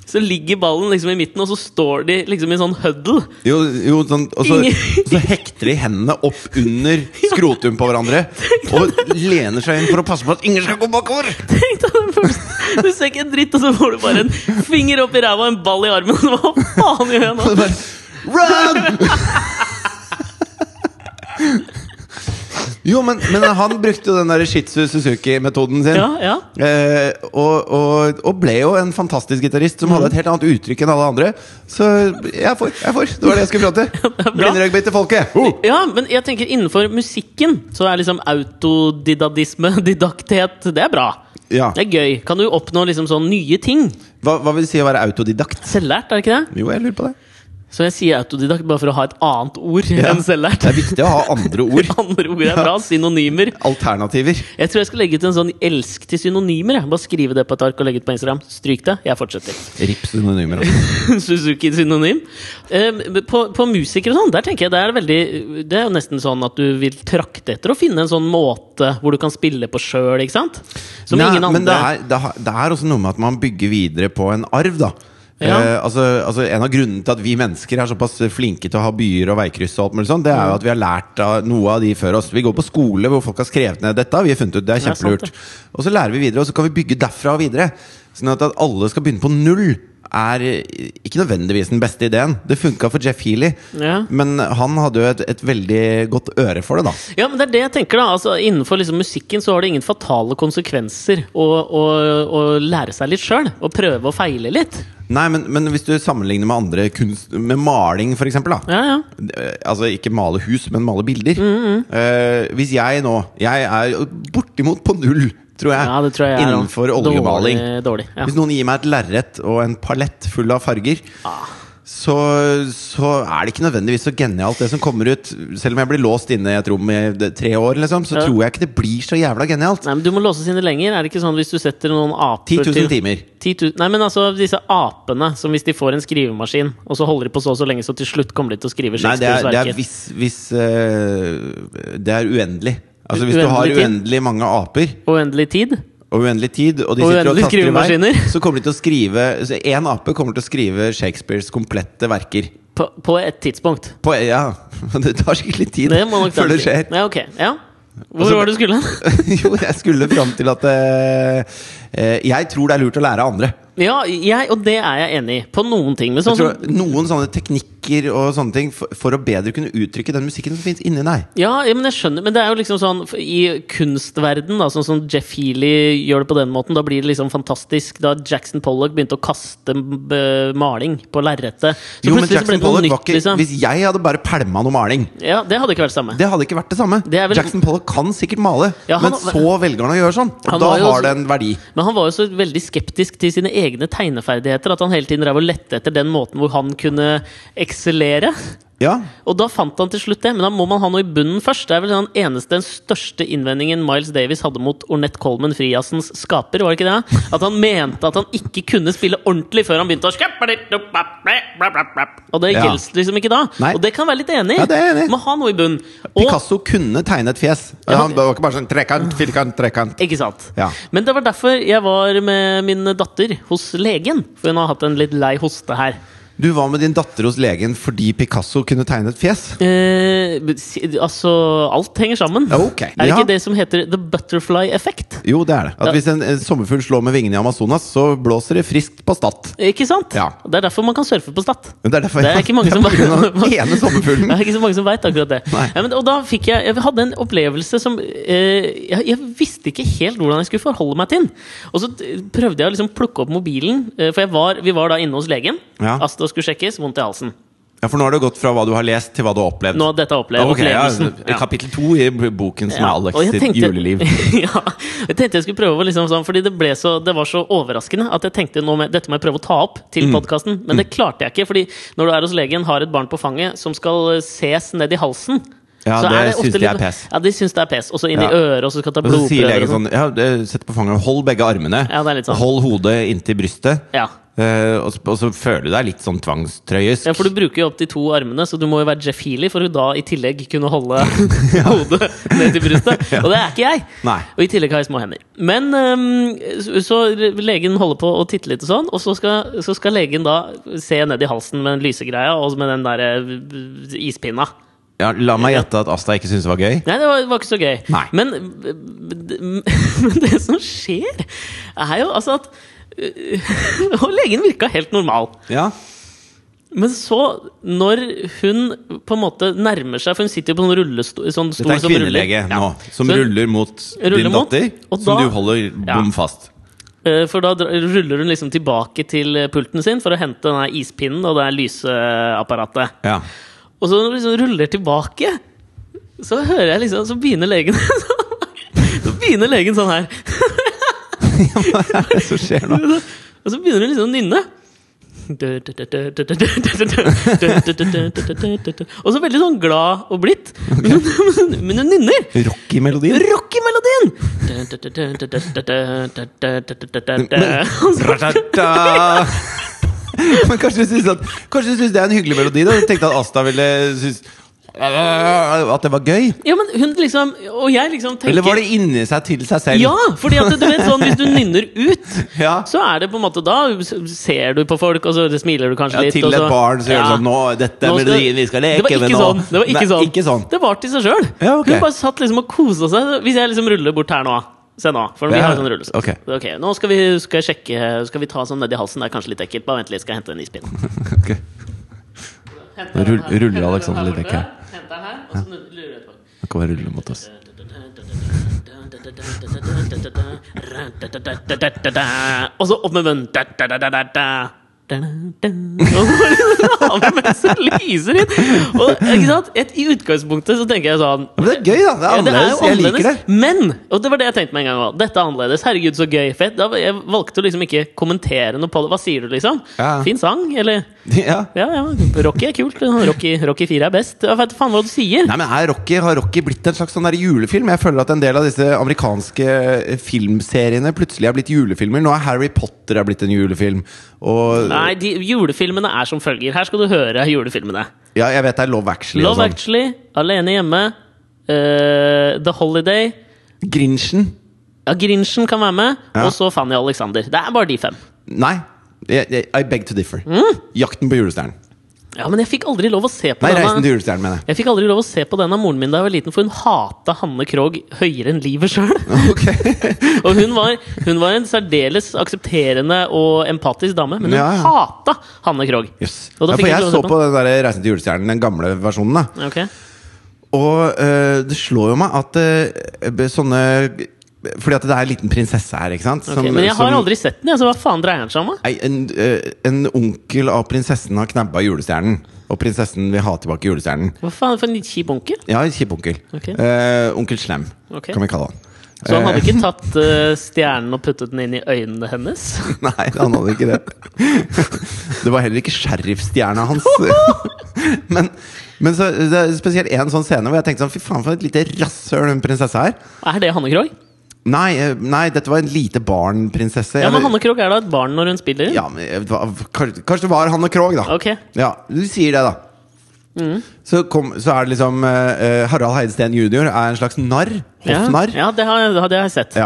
[SPEAKER 2] så ligger ballen liksom i midten, og så står de liksom i en sånn huddle.
[SPEAKER 1] Jo, jo sånn, og så,
[SPEAKER 2] Ingen-
[SPEAKER 1] så hekter de hendene opp under skrotum på hverandre og lener seg inn for å passe på at ingen skal gå bakover!
[SPEAKER 2] Tenk deg den følelsen. Du ser ikke en dritt, og så får du bare en finger opp i ræva og en ball i armen. Hva faen gjør jeg nå?
[SPEAKER 1] Og så bare Run! Jo, men, men han brukte jo den der Shitsu Suzuki-metoden sin.
[SPEAKER 2] Ja, ja.
[SPEAKER 1] Eh, og, og, og ble jo en fantastisk gitarist som hadde et helt annet uttrykk enn alle andre. Så jeg er for. Jeg er for. Det var det jeg skulle fram til.
[SPEAKER 2] er bra.
[SPEAKER 1] Blinderugby til folket! Oh!
[SPEAKER 2] Ja, men jeg tenker innenfor musikken så er liksom autodidadisme, didakthet, det er bra.
[SPEAKER 1] Ja.
[SPEAKER 2] Det er gøy. Kan du oppnå liksom sånn nye ting?
[SPEAKER 1] Hva, hva vil det si å være autodidakt?
[SPEAKER 2] Selvlært, er det ikke det?
[SPEAKER 1] Jo, jeg lurer på det.
[SPEAKER 2] Så jeg sier autodidakt bare for å ha et annet ord
[SPEAKER 1] Ja.
[SPEAKER 2] enn selvlært.
[SPEAKER 1] Det er viktig å ha andre ord.
[SPEAKER 2] Andre ord er bra. Synonymer.
[SPEAKER 1] Alternativer.
[SPEAKER 2] Jeg tror jeg skal legge ut en sånn 'elsk til synonymer'. Jeg. Bare skrive det på et ark og legge ut på Instagram. Stryk det. Jeg fortsetter.
[SPEAKER 1] Rips synonymer.
[SPEAKER 2] Suzuki synonym. Eh, På, på musikere og sånn, der tenker jeg det er veldig Det er jo nesten sånn at du vil trakte etter å finne en sånn måte hvor du kan spille på sjøl, ikke sant? Som
[SPEAKER 1] Nei,
[SPEAKER 2] ingen andre.
[SPEAKER 1] Men det er, det, har- det er også noe med at man bygger videre på en arv, da.
[SPEAKER 2] Ja.
[SPEAKER 1] Eh, altså, altså En av grunnene til at vi mennesker er såpass flinke til å ha byer og veikryss, og alt mulig sånt, det
[SPEAKER 2] Mm.
[SPEAKER 1] er jo at vi har lært av noe av de før oss. Vi går på skole hvor folk har skrevet ned dette. har Vi har funnet ut, det er
[SPEAKER 2] Det er sant,
[SPEAKER 1] kjempelurt Og så lærer vi videre, og så kan vi bygge derfra og videre. Sånn at, at alle skal begynne på null, er eh, ikke nødvendigvis den beste ideen. Det funka for Jeff Healy,
[SPEAKER 2] Ja.
[SPEAKER 1] men han hadde jo et, et veldig godt øre for det, da.
[SPEAKER 2] Ja, men det er det jeg tenker da altså, Innenfor liksom musikken så har det ingen fatale konsekvenser å, å, å lære seg litt sjøl. Å prøve og feile litt.
[SPEAKER 1] Nei, men, men hvis du sammenligner med andre kunst Med maling, for eksempel. Da.
[SPEAKER 2] Ja, Mm, ja.
[SPEAKER 1] Eh, Altså ikke male hus, men male bilder. Eh, hvis jeg nå Jeg er bortimot på null, tror jeg,
[SPEAKER 2] ja det tror jeg er
[SPEAKER 1] innenfor
[SPEAKER 2] dårlig-
[SPEAKER 1] oljemaling.
[SPEAKER 2] Dårlig, ja.
[SPEAKER 1] Hvis noen gir meg et lerret og en palett full av farger,
[SPEAKER 2] Ah,
[SPEAKER 1] så, så er det ikke nødvendigvis så genialt, det som kommer ut. Selv om jeg blir låst inne i et rom i d- tre år, liksom, så
[SPEAKER 2] Ja.
[SPEAKER 1] tror jeg ikke det blir så jævla genialt.
[SPEAKER 2] Nei, men Du må låses inne lenger. Er det ikke sånn hvis du setter noen aper
[SPEAKER 1] 10 000
[SPEAKER 2] til
[SPEAKER 1] timer.
[SPEAKER 2] 10 000 Nei, men altså disse apene som hvis de får en skrivemaskin, og så holder de på så og så lenge, så til slutt kommer de til å skrive
[SPEAKER 1] Nei, det
[SPEAKER 2] Shakespeares
[SPEAKER 1] er, det er
[SPEAKER 2] verker.
[SPEAKER 1] hvis, hvis eh, Det er uendelig. Altså Hvis du har
[SPEAKER 2] Uendelig tid?
[SPEAKER 1] uendelig mange aper
[SPEAKER 2] Uendelig tid.
[SPEAKER 1] og uendelig tid, og de
[SPEAKER 2] Og
[SPEAKER 1] sitter og
[SPEAKER 2] uendelig
[SPEAKER 1] taster i vei,
[SPEAKER 2] skrivemaskiner.
[SPEAKER 1] så kommer de til å skrive så En ape kommer til å skrive Shakespeares komplette verker.
[SPEAKER 2] På, på et tidspunkt.
[SPEAKER 1] På, ja, Det tar skikkelig tid
[SPEAKER 2] Det må nok
[SPEAKER 1] før
[SPEAKER 2] den
[SPEAKER 1] det
[SPEAKER 2] si.
[SPEAKER 1] skjer. Altså,
[SPEAKER 2] Ja, ok. Ja. Hvor
[SPEAKER 1] Og så-
[SPEAKER 2] var det du skulle?
[SPEAKER 1] jo, jeg skulle fram til at eh, eh, Jeg tror det er lurt å lære av andre.
[SPEAKER 2] Ja, jeg, og det er jeg enig i. På noen ting. Men
[SPEAKER 1] Jeg
[SPEAKER 2] sånn
[SPEAKER 1] tror
[SPEAKER 2] som
[SPEAKER 1] Noen sånne teknikker og sånne ting for, for å bedre kunne uttrykke den musikken som fins inni deg.
[SPEAKER 2] Ja, ja, men jeg skjønner Men det er jo liksom sånn f- I kunstverden da Sånn som Jeff Healy gjør det på den måten Da blir det liksom fantastisk Da Jackson Pollock begynte å kaste m- b- maling på lerretet Så
[SPEAKER 1] Jo, men
[SPEAKER 2] plutselig så ble det
[SPEAKER 1] Jackson
[SPEAKER 2] noe
[SPEAKER 1] Pollock var
[SPEAKER 2] nytt
[SPEAKER 1] ikke
[SPEAKER 2] liksom
[SPEAKER 1] Hvis jeg hadde bare pælma noe maling
[SPEAKER 2] Ja, det hadde ikke vært det samme
[SPEAKER 1] Det hadde ikke vært det samme.
[SPEAKER 2] Det er vel-
[SPEAKER 1] Jackson Pollock kan sikkert male,
[SPEAKER 2] Ja, han-
[SPEAKER 1] men så velger han å gjøre sånn.
[SPEAKER 2] Han
[SPEAKER 1] Og da
[SPEAKER 2] var jo-
[SPEAKER 1] har det en verdi.
[SPEAKER 2] Men han var jo så veldig skeptisk til sine egne tegneferdigheter At han hele tiden drev og lette etter den måten hvor han kunne ekselere
[SPEAKER 1] Ja,
[SPEAKER 2] Og da fant han til slutt det, men da må man ha noe i bunnen først. Det er vel den eneste, den største innvendingen Miles Davis hadde mot Ornette Coleman, frijazzens skaper, var det ikke det? At han mente at han ikke kunne spille ordentlig før han begynte å Og det
[SPEAKER 1] Ja.
[SPEAKER 2] gjelder liksom ikke da.
[SPEAKER 1] Nei.
[SPEAKER 2] Og det kan jeg være litt enig i.
[SPEAKER 1] Ja, det er jeg enig i.
[SPEAKER 2] Må ha noe i bunnen. Og
[SPEAKER 1] Picasso kunne tegne et fjes.
[SPEAKER 2] Ja.
[SPEAKER 1] Han var ikke bare sånn trekant, firkant, trekant.
[SPEAKER 2] ikke sant?
[SPEAKER 1] Ja.
[SPEAKER 2] Men det var derfor jeg var med min datter hos legen. For hun har hatt en litt lei hoste her.
[SPEAKER 1] Du var med din datter hos legen fordi Picasso kunne tegne et fjes?
[SPEAKER 2] Eh, si- altså, alt henger sammen.
[SPEAKER 1] Ja, ok.
[SPEAKER 2] Er det
[SPEAKER 1] Ja.
[SPEAKER 2] ikke det som heter the butterfly effect?
[SPEAKER 1] Jo, det er det. At
[SPEAKER 2] Ja.
[SPEAKER 1] Hvis en en sommerfugl slår med vingene i Amazonas, så blåser det friskt på Stad.
[SPEAKER 2] Ikke sant?
[SPEAKER 1] Ja.
[SPEAKER 2] Det er derfor man kan surfe på Stad.
[SPEAKER 1] Men Det er derfor
[SPEAKER 2] Det er ikke mange
[SPEAKER 1] det
[SPEAKER 2] som
[SPEAKER 1] på grunn av den ene
[SPEAKER 2] Det
[SPEAKER 1] sommerfuglen.
[SPEAKER 2] er ikke så mange som veit akkurat det.
[SPEAKER 1] Nei.
[SPEAKER 2] Ja, men, og da fikk jeg Jeg hadde en opplevelse som eh, jeg, jeg visste ikke helt hvordan jeg skulle forholde meg til. Og så eh, prøvde jeg å liksom plukke opp mobilen, eh, for jeg var, vi var da inne hos legen.
[SPEAKER 1] Ja.
[SPEAKER 2] Asta skulle sjekkes, vondt i halsen.
[SPEAKER 1] Ja, For nå har det gått fra hva du har lest, til hva du har opplevd.
[SPEAKER 2] Nå dette er opple
[SPEAKER 1] Ok, ja,
[SPEAKER 2] opplevelsen. Ja.
[SPEAKER 1] Kapittel to i boken som
[SPEAKER 2] Ja,
[SPEAKER 1] er
[SPEAKER 2] og
[SPEAKER 1] Alex
[SPEAKER 2] jeg
[SPEAKER 1] sitt
[SPEAKER 2] tenkte-
[SPEAKER 1] juleliv.
[SPEAKER 2] ja, jeg tenkte jeg skulle prøve å liksom sånn, Fordi det, ble så, det var så overraskende at jeg tenkte nå med, dette må jeg prøve å ta opp
[SPEAKER 1] Mm.
[SPEAKER 2] til podkasten. Men det klarte jeg ikke, Fordi når du er hos legen, har et barn på fanget som skal eh, ses ned i halsen
[SPEAKER 1] Ja,
[SPEAKER 2] så
[SPEAKER 1] det
[SPEAKER 2] er ofte
[SPEAKER 1] syns de
[SPEAKER 2] litt-
[SPEAKER 1] er pes.
[SPEAKER 2] Ja, de syns det er pes. Og så inn
[SPEAKER 1] Ja.
[SPEAKER 2] i øret, og så skal ta
[SPEAKER 1] Og så sier
[SPEAKER 2] blodprøver.
[SPEAKER 1] legen
[SPEAKER 2] og sånn.
[SPEAKER 1] sånn ja, det- Sett på fanget, hold begge armene.
[SPEAKER 2] Ja, det er litt sånn.
[SPEAKER 1] Hold hodet inntil brystet.
[SPEAKER 2] Ja.
[SPEAKER 1] Eh, og, så, og så føler du deg litt sånn tvangstrøyisk.
[SPEAKER 2] ja, for du bruker jo opp de to armene, så du må jo være Jeff Healy for å da i tillegg kunne holde hodet ned til brystet. Og det er ikke jeg!
[SPEAKER 1] Nei.
[SPEAKER 2] Og i tillegg har jeg små hender. Men øhm, så, så legen holder på å titte litt og sånn, og så skal, så skal legen da se ned i halsen med den lysegreia og med den der øh, ispinna.
[SPEAKER 1] Ja, la meg gjette at Asta ikke syntes det var gøy.
[SPEAKER 2] Nei, det var, var ikke så gøy.
[SPEAKER 1] Nei.
[SPEAKER 2] Men, men det som skjer, er jo altså at øh, Og legen virka helt normal.
[SPEAKER 1] Ja,
[SPEAKER 2] Men så, når hun på en måte nærmer seg For hun sitter jo på en rullestol sånn stol
[SPEAKER 1] Dette er
[SPEAKER 2] som ruller.
[SPEAKER 1] kvinnelege
[SPEAKER 2] Ja.
[SPEAKER 1] nå, som
[SPEAKER 2] Så-
[SPEAKER 1] ruller mot
[SPEAKER 2] Ruller
[SPEAKER 1] din
[SPEAKER 2] mot,
[SPEAKER 1] datter.
[SPEAKER 2] og
[SPEAKER 1] som
[SPEAKER 2] da-
[SPEAKER 1] du holder
[SPEAKER 2] Ja.
[SPEAKER 1] bom fast.
[SPEAKER 2] Eh, For da dra- ruller hun liksom tilbake til eh, pulten sin for å hente den her ispinnen og det her lyseapparatet.
[SPEAKER 1] Ja.
[SPEAKER 2] Og så når hun liksom ruller tilbake, så hører jeg liksom Så begynner legen sånn her. Så begynner legen sånn her.
[SPEAKER 1] Hva er det som skjer nå?
[SPEAKER 2] Og så begynner hun liksom å nynne. Og så veldig sånn glad og blidt. Men hun- Men hun nynner!
[SPEAKER 1] Rocky-melodien.
[SPEAKER 2] Rocky-melodien!
[SPEAKER 1] Ratata. Men kanskje du syns at Kanskje du synes det er en hyggelig melodi? Da Du tenkte at Asta ville synes At det var gøy?
[SPEAKER 2] Ja, men hun liksom Og jeg liksom tenker
[SPEAKER 1] Eller var det inni seg til seg selv?
[SPEAKER 2] Ja! fordi at du vet sånn, hvis du nynner ut,
[SPEAKER 1] Ja.
[SPEAKER 2] så er det på en måte Da ser du på folk, og så smiler du kanskje
[SPEAKER 1] Ja,
[SPEAKER 2] litt.
[SPEAKER 1] til
[SPEAKER 2] og
[SPEAKER 1] et
[SPEAKER 2] så-
[SPEAKER 1] barn så gjør det
[SPEAKER 2] Ja.
[SPEAKER 1] sånn Nå, dette
[SPEAKER 2] Nå
[SPEAKER 1] er
[SPEAKER 2] skal-
[SPEAKER 1] melodien vi skal
[SPEAKER 2] det var
[SPEAKER 1] leke
[SPEAKER 2] ikke
[SPEAKER 1] med nå.
[SPEAKER 2] sånn. Det var ikke,
[SPEAKER 1] Nei,
[SPEAKER 2] sånn.
[SPEAKER 1] ikke sånn.
[SPEAKER 2] Det var til seg sjøl.
[SPEAKER 1] Ja, ok.
[SPEAKER 2] Hun bare satt liksom og kosa seg. Hvis jeg liksom ruller bort her nå Se nå, for vi
[SPEAKER 1] Ja,
[SPEAKER 2] har jo sånn rullestol.
[SPEAKER 1] ok.
[SPEAKER 2] ok, nå skal vi skal jeg sjekke Skal vi ta sånn nedi halsen? Det er kanskje litt ekkelt. Bare vent litt, skal jeg hente en ispinn.
[SPEAKER 1] Ok. Nå rull- ruller Alexander litt vekk her.
[SPEAKER 2] Henter den her, og så lurer jeg på
[SPEAKER 1] Han kan bare rulle mot oss.
[SPEAKER 2] og så opp med munnen. Og så bare drar vi mens det lyser inn! Og, ikke sant? Et, I utgangspunktet så tenker jeg sånn
[SPEAKER 1] Men det er gøy, da! Det er
[SPEAKER 2] ja, det er jo
[SPEAKER 1] annerledes. Jeg liker det.
[SPEAKER 2] annerledes. Men! Og det var det jeg tenkte med en gang også. Dette er annerledes. Herregud, så gøy. Fett. Da, jeg valgte å liksom ikke kommentere noe på det. Hva sier du, liksom?
[SPEAKER 1] Ja.
[SPEAKER 2] Fin sang, eller
[SPEAKER 1] Ja.
[SPEAKER 2] Ja, ja. Rocky er kult. Rocky, Rocky 4 er best. Jeg vet faen hva du sier.
[SPEAKER 1] Nei, men er Rocky, Har Rocky blitt en slags sånn der julefilm? Jeg føler at en del av disse amerikanske eh, filmseriene plutselig er blitt julefilmer. Nå er Harry Potter er blitt en julefilm. Og
[SPEAKER 2] Nei, de, julefilmene er som følger. Her skal du høre julefilmene.
[SPEAKER 1] ja, jeg vet det er Love Actually.
[SPEAKER 2] Love
[SPEAKER 1] og sånn.
[SPEAKER 2] Actually, Alene hjemme, eh, The Holiday
[SPEAKER 1] Grinchen?
[SPEAKER 2] ja, Grinchen kan være med,
[SPEAKER 1] Ja.
[SPEAKER 2] og så Fanny og Alexander. Det er bare de fem.
[SPEAKER 1] Nei. Jeg, jeg, I beg to differ.
[SPEAKER 2] Mm.
[SPEAKER 1] Jakten på julestjernen.
[SPEAKER 2] Ja, Men jeg fikk aldri lov å se på
[SPEAKER 1] Nei, Reisen
[SPEAKER 2] denne
[SPEAKER 1] til julestjernen, mener jeg.
[SPEAKER 2] Jeg fikk aldri lov å se på den av moren min da jeg var liten, for hun hata Hanne Krogh høyere enn livet sjøl. og hun var, hun var en særdeles aksepterende og empatisk dame, men hun
[SPEAKER 1] Ja, ja.
[SPEAKER 2] hata Hanne Krogh.
[SPEAKER 1] Yes.
[SPEAKER 2] Og da
[SPEAKER 1] Ja,
[SPEAKER 2] fikk
[SPEAKER 1] for
[SPEAKER 2] jeg ikke
[SPEAKER 1] jeg så
[SPEAKER 2] lov til å se
[SPEAKER 1] på den der Reisen til julestjernen, den gamle versjonen. da
[SPEAKER 2] Ok.
[SPEAKER 1] Og eh, det slår jo meg at eh, b- sånne Fordi at det er en liten prinsesse her, ikke sant?
[SPEAKER 2] ok.
[SPEAKER 1] Som-
[SPEAKER 2] men jeg har
[SPEAKER 1] som-
[SPEAKER 2] aldri sett den, jeg, så hva faen dreier den seg om? da?
[SPEAKER 1] Nei, en, eh, en onkel av prinsessen har knabba julestjernen. Og prinsessen vil ha tilbake julestjernen.
[SPEAKER 2] Hva faen for en kjip onkel?
[SPEAKER 1] Ja, en kjip onkel.
[SPEAKER 2] Ok.
[SPEAKER 1] Eh, onkel Slem,
[SPEAKER 2] Ok.
[SPEAKER 1] kan vi kalle han.
[SPEAKER 2] Så han hadde
[SPEAKER 1] Eh,
[SPEAKER 2] ikke tatt eh, stjernen og puttet den inn i øynene hennes?
[SPEAKER 1] Nei, han hadde ikke det. Det var heller ikke sheriffstjerna hans. Men, men så, det er spesielt én sånn scene hvor jeg tenkte sånn Fy faen, for et lite rasshøl hun prinsessa er.
[SPEAKER 2] Er det Hanne Krogh?
[SPEAKER 1] Nei, eh, nei, dette var en lite barn-prinsesse.
[SPEAKER 2] Ja, men
[SPEAKER 1] Eller-
[SPEAKER 2] Hanne Krogh er da et barn når hun spiller?
[SPEAKER 1] Ja, men jeg vet hva, kanskje, kanskje det var Hanne Krogh, da.
[SPEAKER 2] Ok. Mm.
[SPEAKER 1] Ja, du sier det, da. Så, kom, så er det liksom eh, eh, Harald Heidsten jr. er en slags narr. Hoffnarr. Ja.
[SPEAKER 2] Ja, det har, det har jeg sett.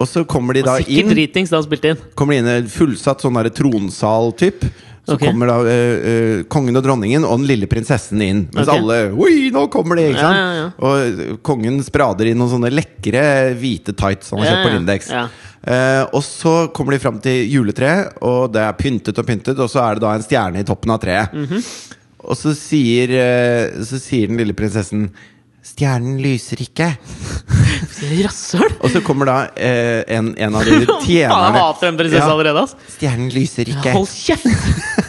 [SPEAKER 1] Og så kommer de Eh, da
[SPEAKER 2] Sikkert
[SPEAKER 1] inn
[SPEAKER 2] dritings da han spilte inn.
[SPEAKER 1] Kommer de inn i en fullsatt sånn derre tronsal-typ. Så
[SPEAKER 2] Ok.
[SPEAKER 1] kommer da eh, eh, kongen og dronningen og den lille prinsessen inn. Mens
[SPEAKER 2] Ok.
[SPEAKER 1] alle Oi, nå kommer de! Ikke
[SPEAKER 2] Ja,
[SPEAKER 1] sant?
[SPEAKER 2] ja, ja.
[SPEAKER 1] Og eh, kongen sprader inn noen sånne lekre hvite tights han har
[SPEAKER 2] Ja,
[SPEAKER 1] kjøpt på
[SPEAKER 2] ja,
[SPEAKER 1] Lindex.
[SPEAKER 2] ja.
[SPEAKER 1] Eh, og så kommer de fram til juletreet, og det er pyntet og pyntet, og så er det da en stjerne i toppen av treet.
[SPEAKER 2] Mhm.
[SPEAKER 1] Og så sier, eh, så sier den lille prinsessen Stjernen lyser ikke.
[SPEAKER 2] Rasshøl!
[SPEAKER 1] Og så kommer da eh, en, en av de
[SPEAKER 2] Jeg
[SPEAKER 1] tjenerne
[SPEAKER 2] hater en prinsesse
[SPEAKER 1] Ja.
[SPEAKER 2] allerede, ass.
[SPEAKER 1] Stjernen lyser ikke.
[SPEAKER 2] Hold kjeft!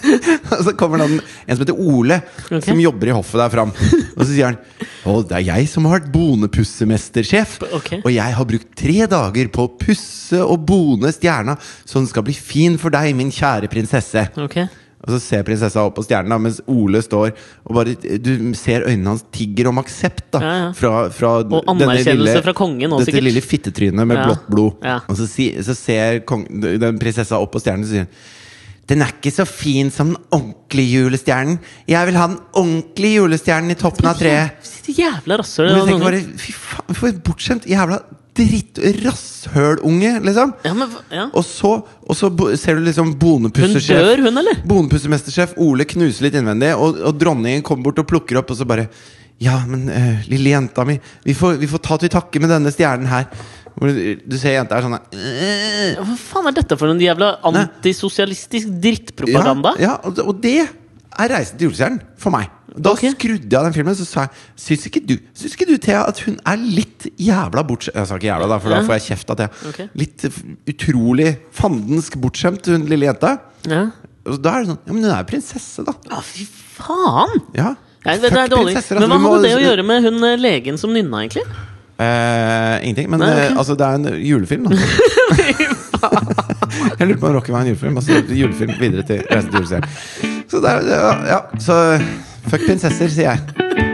[SPEAKER 1] Og så kommer det en, en som heter Ole,
[SPEAKER 2] Ok.
[SPEAKER 1] som jobber i hoffet der fram. Og så sier han Å, det er jeg som har vært bonepussemestersjef.
[SPEAKER 2] Ok.
[SPEAKER 1] Og jeg har brukt tre dager på å pusse og bone stjerna, så den skal bli fin for deg, min kjære prinsesse.
[SPEAKER 2] Ok.
[SPEAKER 1] Og så ser prinsessa opp på stjernen, da, mens Ole står og bare Du ser øynene hans tigger om aksept, da.
[SPEAKER 2] Ja, ja.
[SPEAKER 1] Fra, fra
[SPEAKER 2] Og anerkjennelse fra kongen også,
[SPEAKER 1] Dette
[SPEAKER 2] sikkert.
[SPEAKER 1] lille fittetrynet med
[SPEAKER 2] Ja.
[SPEAKER 1] blått blod.
[SPEAKER 2] Ja.
[SPEAKER 1] Og så, si, så ser kong, den prinsessa opp på stjernen og sier hun, den er ikke så fin som den ordentlige julestjernen. Jeg vil ha den ordentlige julestjernen i toppen av treet.
[SPEAKER 2] Sitt Jævla rasshøl.
[SPEAKER 1] Men
[SPEAKER 2] det
[SPEAKER 1] jeg
[SPEAKER 2] var
[SPEAKER 1] tenker bare,
[SPEAKER 2] noen-
[SPEAKER 1] fy faen, for en bortskjemt jævla dritt-rasshølunge, liksom.
[SPEAKER 2] Ja, men hva- ja.
[SPEAKER 1] Og så, og så bo- ser du liksom
[SPEAKER 2] Hun
[SPEAKER 1] bonepussersjef
[SPEAKER 2] dør, hun, eller?
[SPEAKER 1] Bonepussemestersjef Ole knuser litt innvendig, og, og dronningen kommer bort og plukker opp, og så bare Ja, men eh, lille jenta mi, vi får, vi får ta til takke med denne stjernen her. Hvor du, du ser jenta er sånn der,
[SPEAKER 2] Ja, Hva faen er dette for en jævla antisosialistisk drittpropaganda?
[SPEAKER 1] Ja, ja og, og det er Reisen til julestjernen for meg. Da
[SPEAKER 2] Ok.
[SPEAKER 1] skrudde jeg av den filmen, så sa jeg Syns ikke du, syns ikke du Thea, at hun er litt jævla bortskjemt Jeg sa ikke jævla, da, for da
[SPEAKER 2] Ja.
[SPEAKER 1] får jeg kjeft av Thea.
[SPEAKER 2] Ok.
[SPEAKER 1] Litt eh, utrolig fandensk bortskjemt, hun lille jenta.
[SPEAKER 2] Ja.
[SPEAKER 1] Og da er det sånn Ja, men hun er jo prinsesse, da.
[SPEAKER 2] Ja, fy faen!
[SPEAKER 1] Ja.
[SPEAKER 2] Nei, det, det er
[SPEAKER 1] Fuck
[SPEAKER 2] dårlig.
[SPEAKER 1] prinsesser,
[SPEAKER 2] Men
[SPEAKER 1] altså,
[SPEAKER 2] hva
[SPEAKER 1] vi må-
[SPEAKER 2] hadde det å gjøre med hun eh, legen som nynna, egentlig?
[SPEAKER 1] Eh, ingenting. Men
[SPEAKER 2] Nei, ok.
[SPEAKER 1] eh, altså, det er en julefilm, da. jeg lurte på om Rocky var en julefilm. Og så julefilm videre til Reisen til julestjernen. Så det er ja, ja, så fuck prinsesser, sier jeg.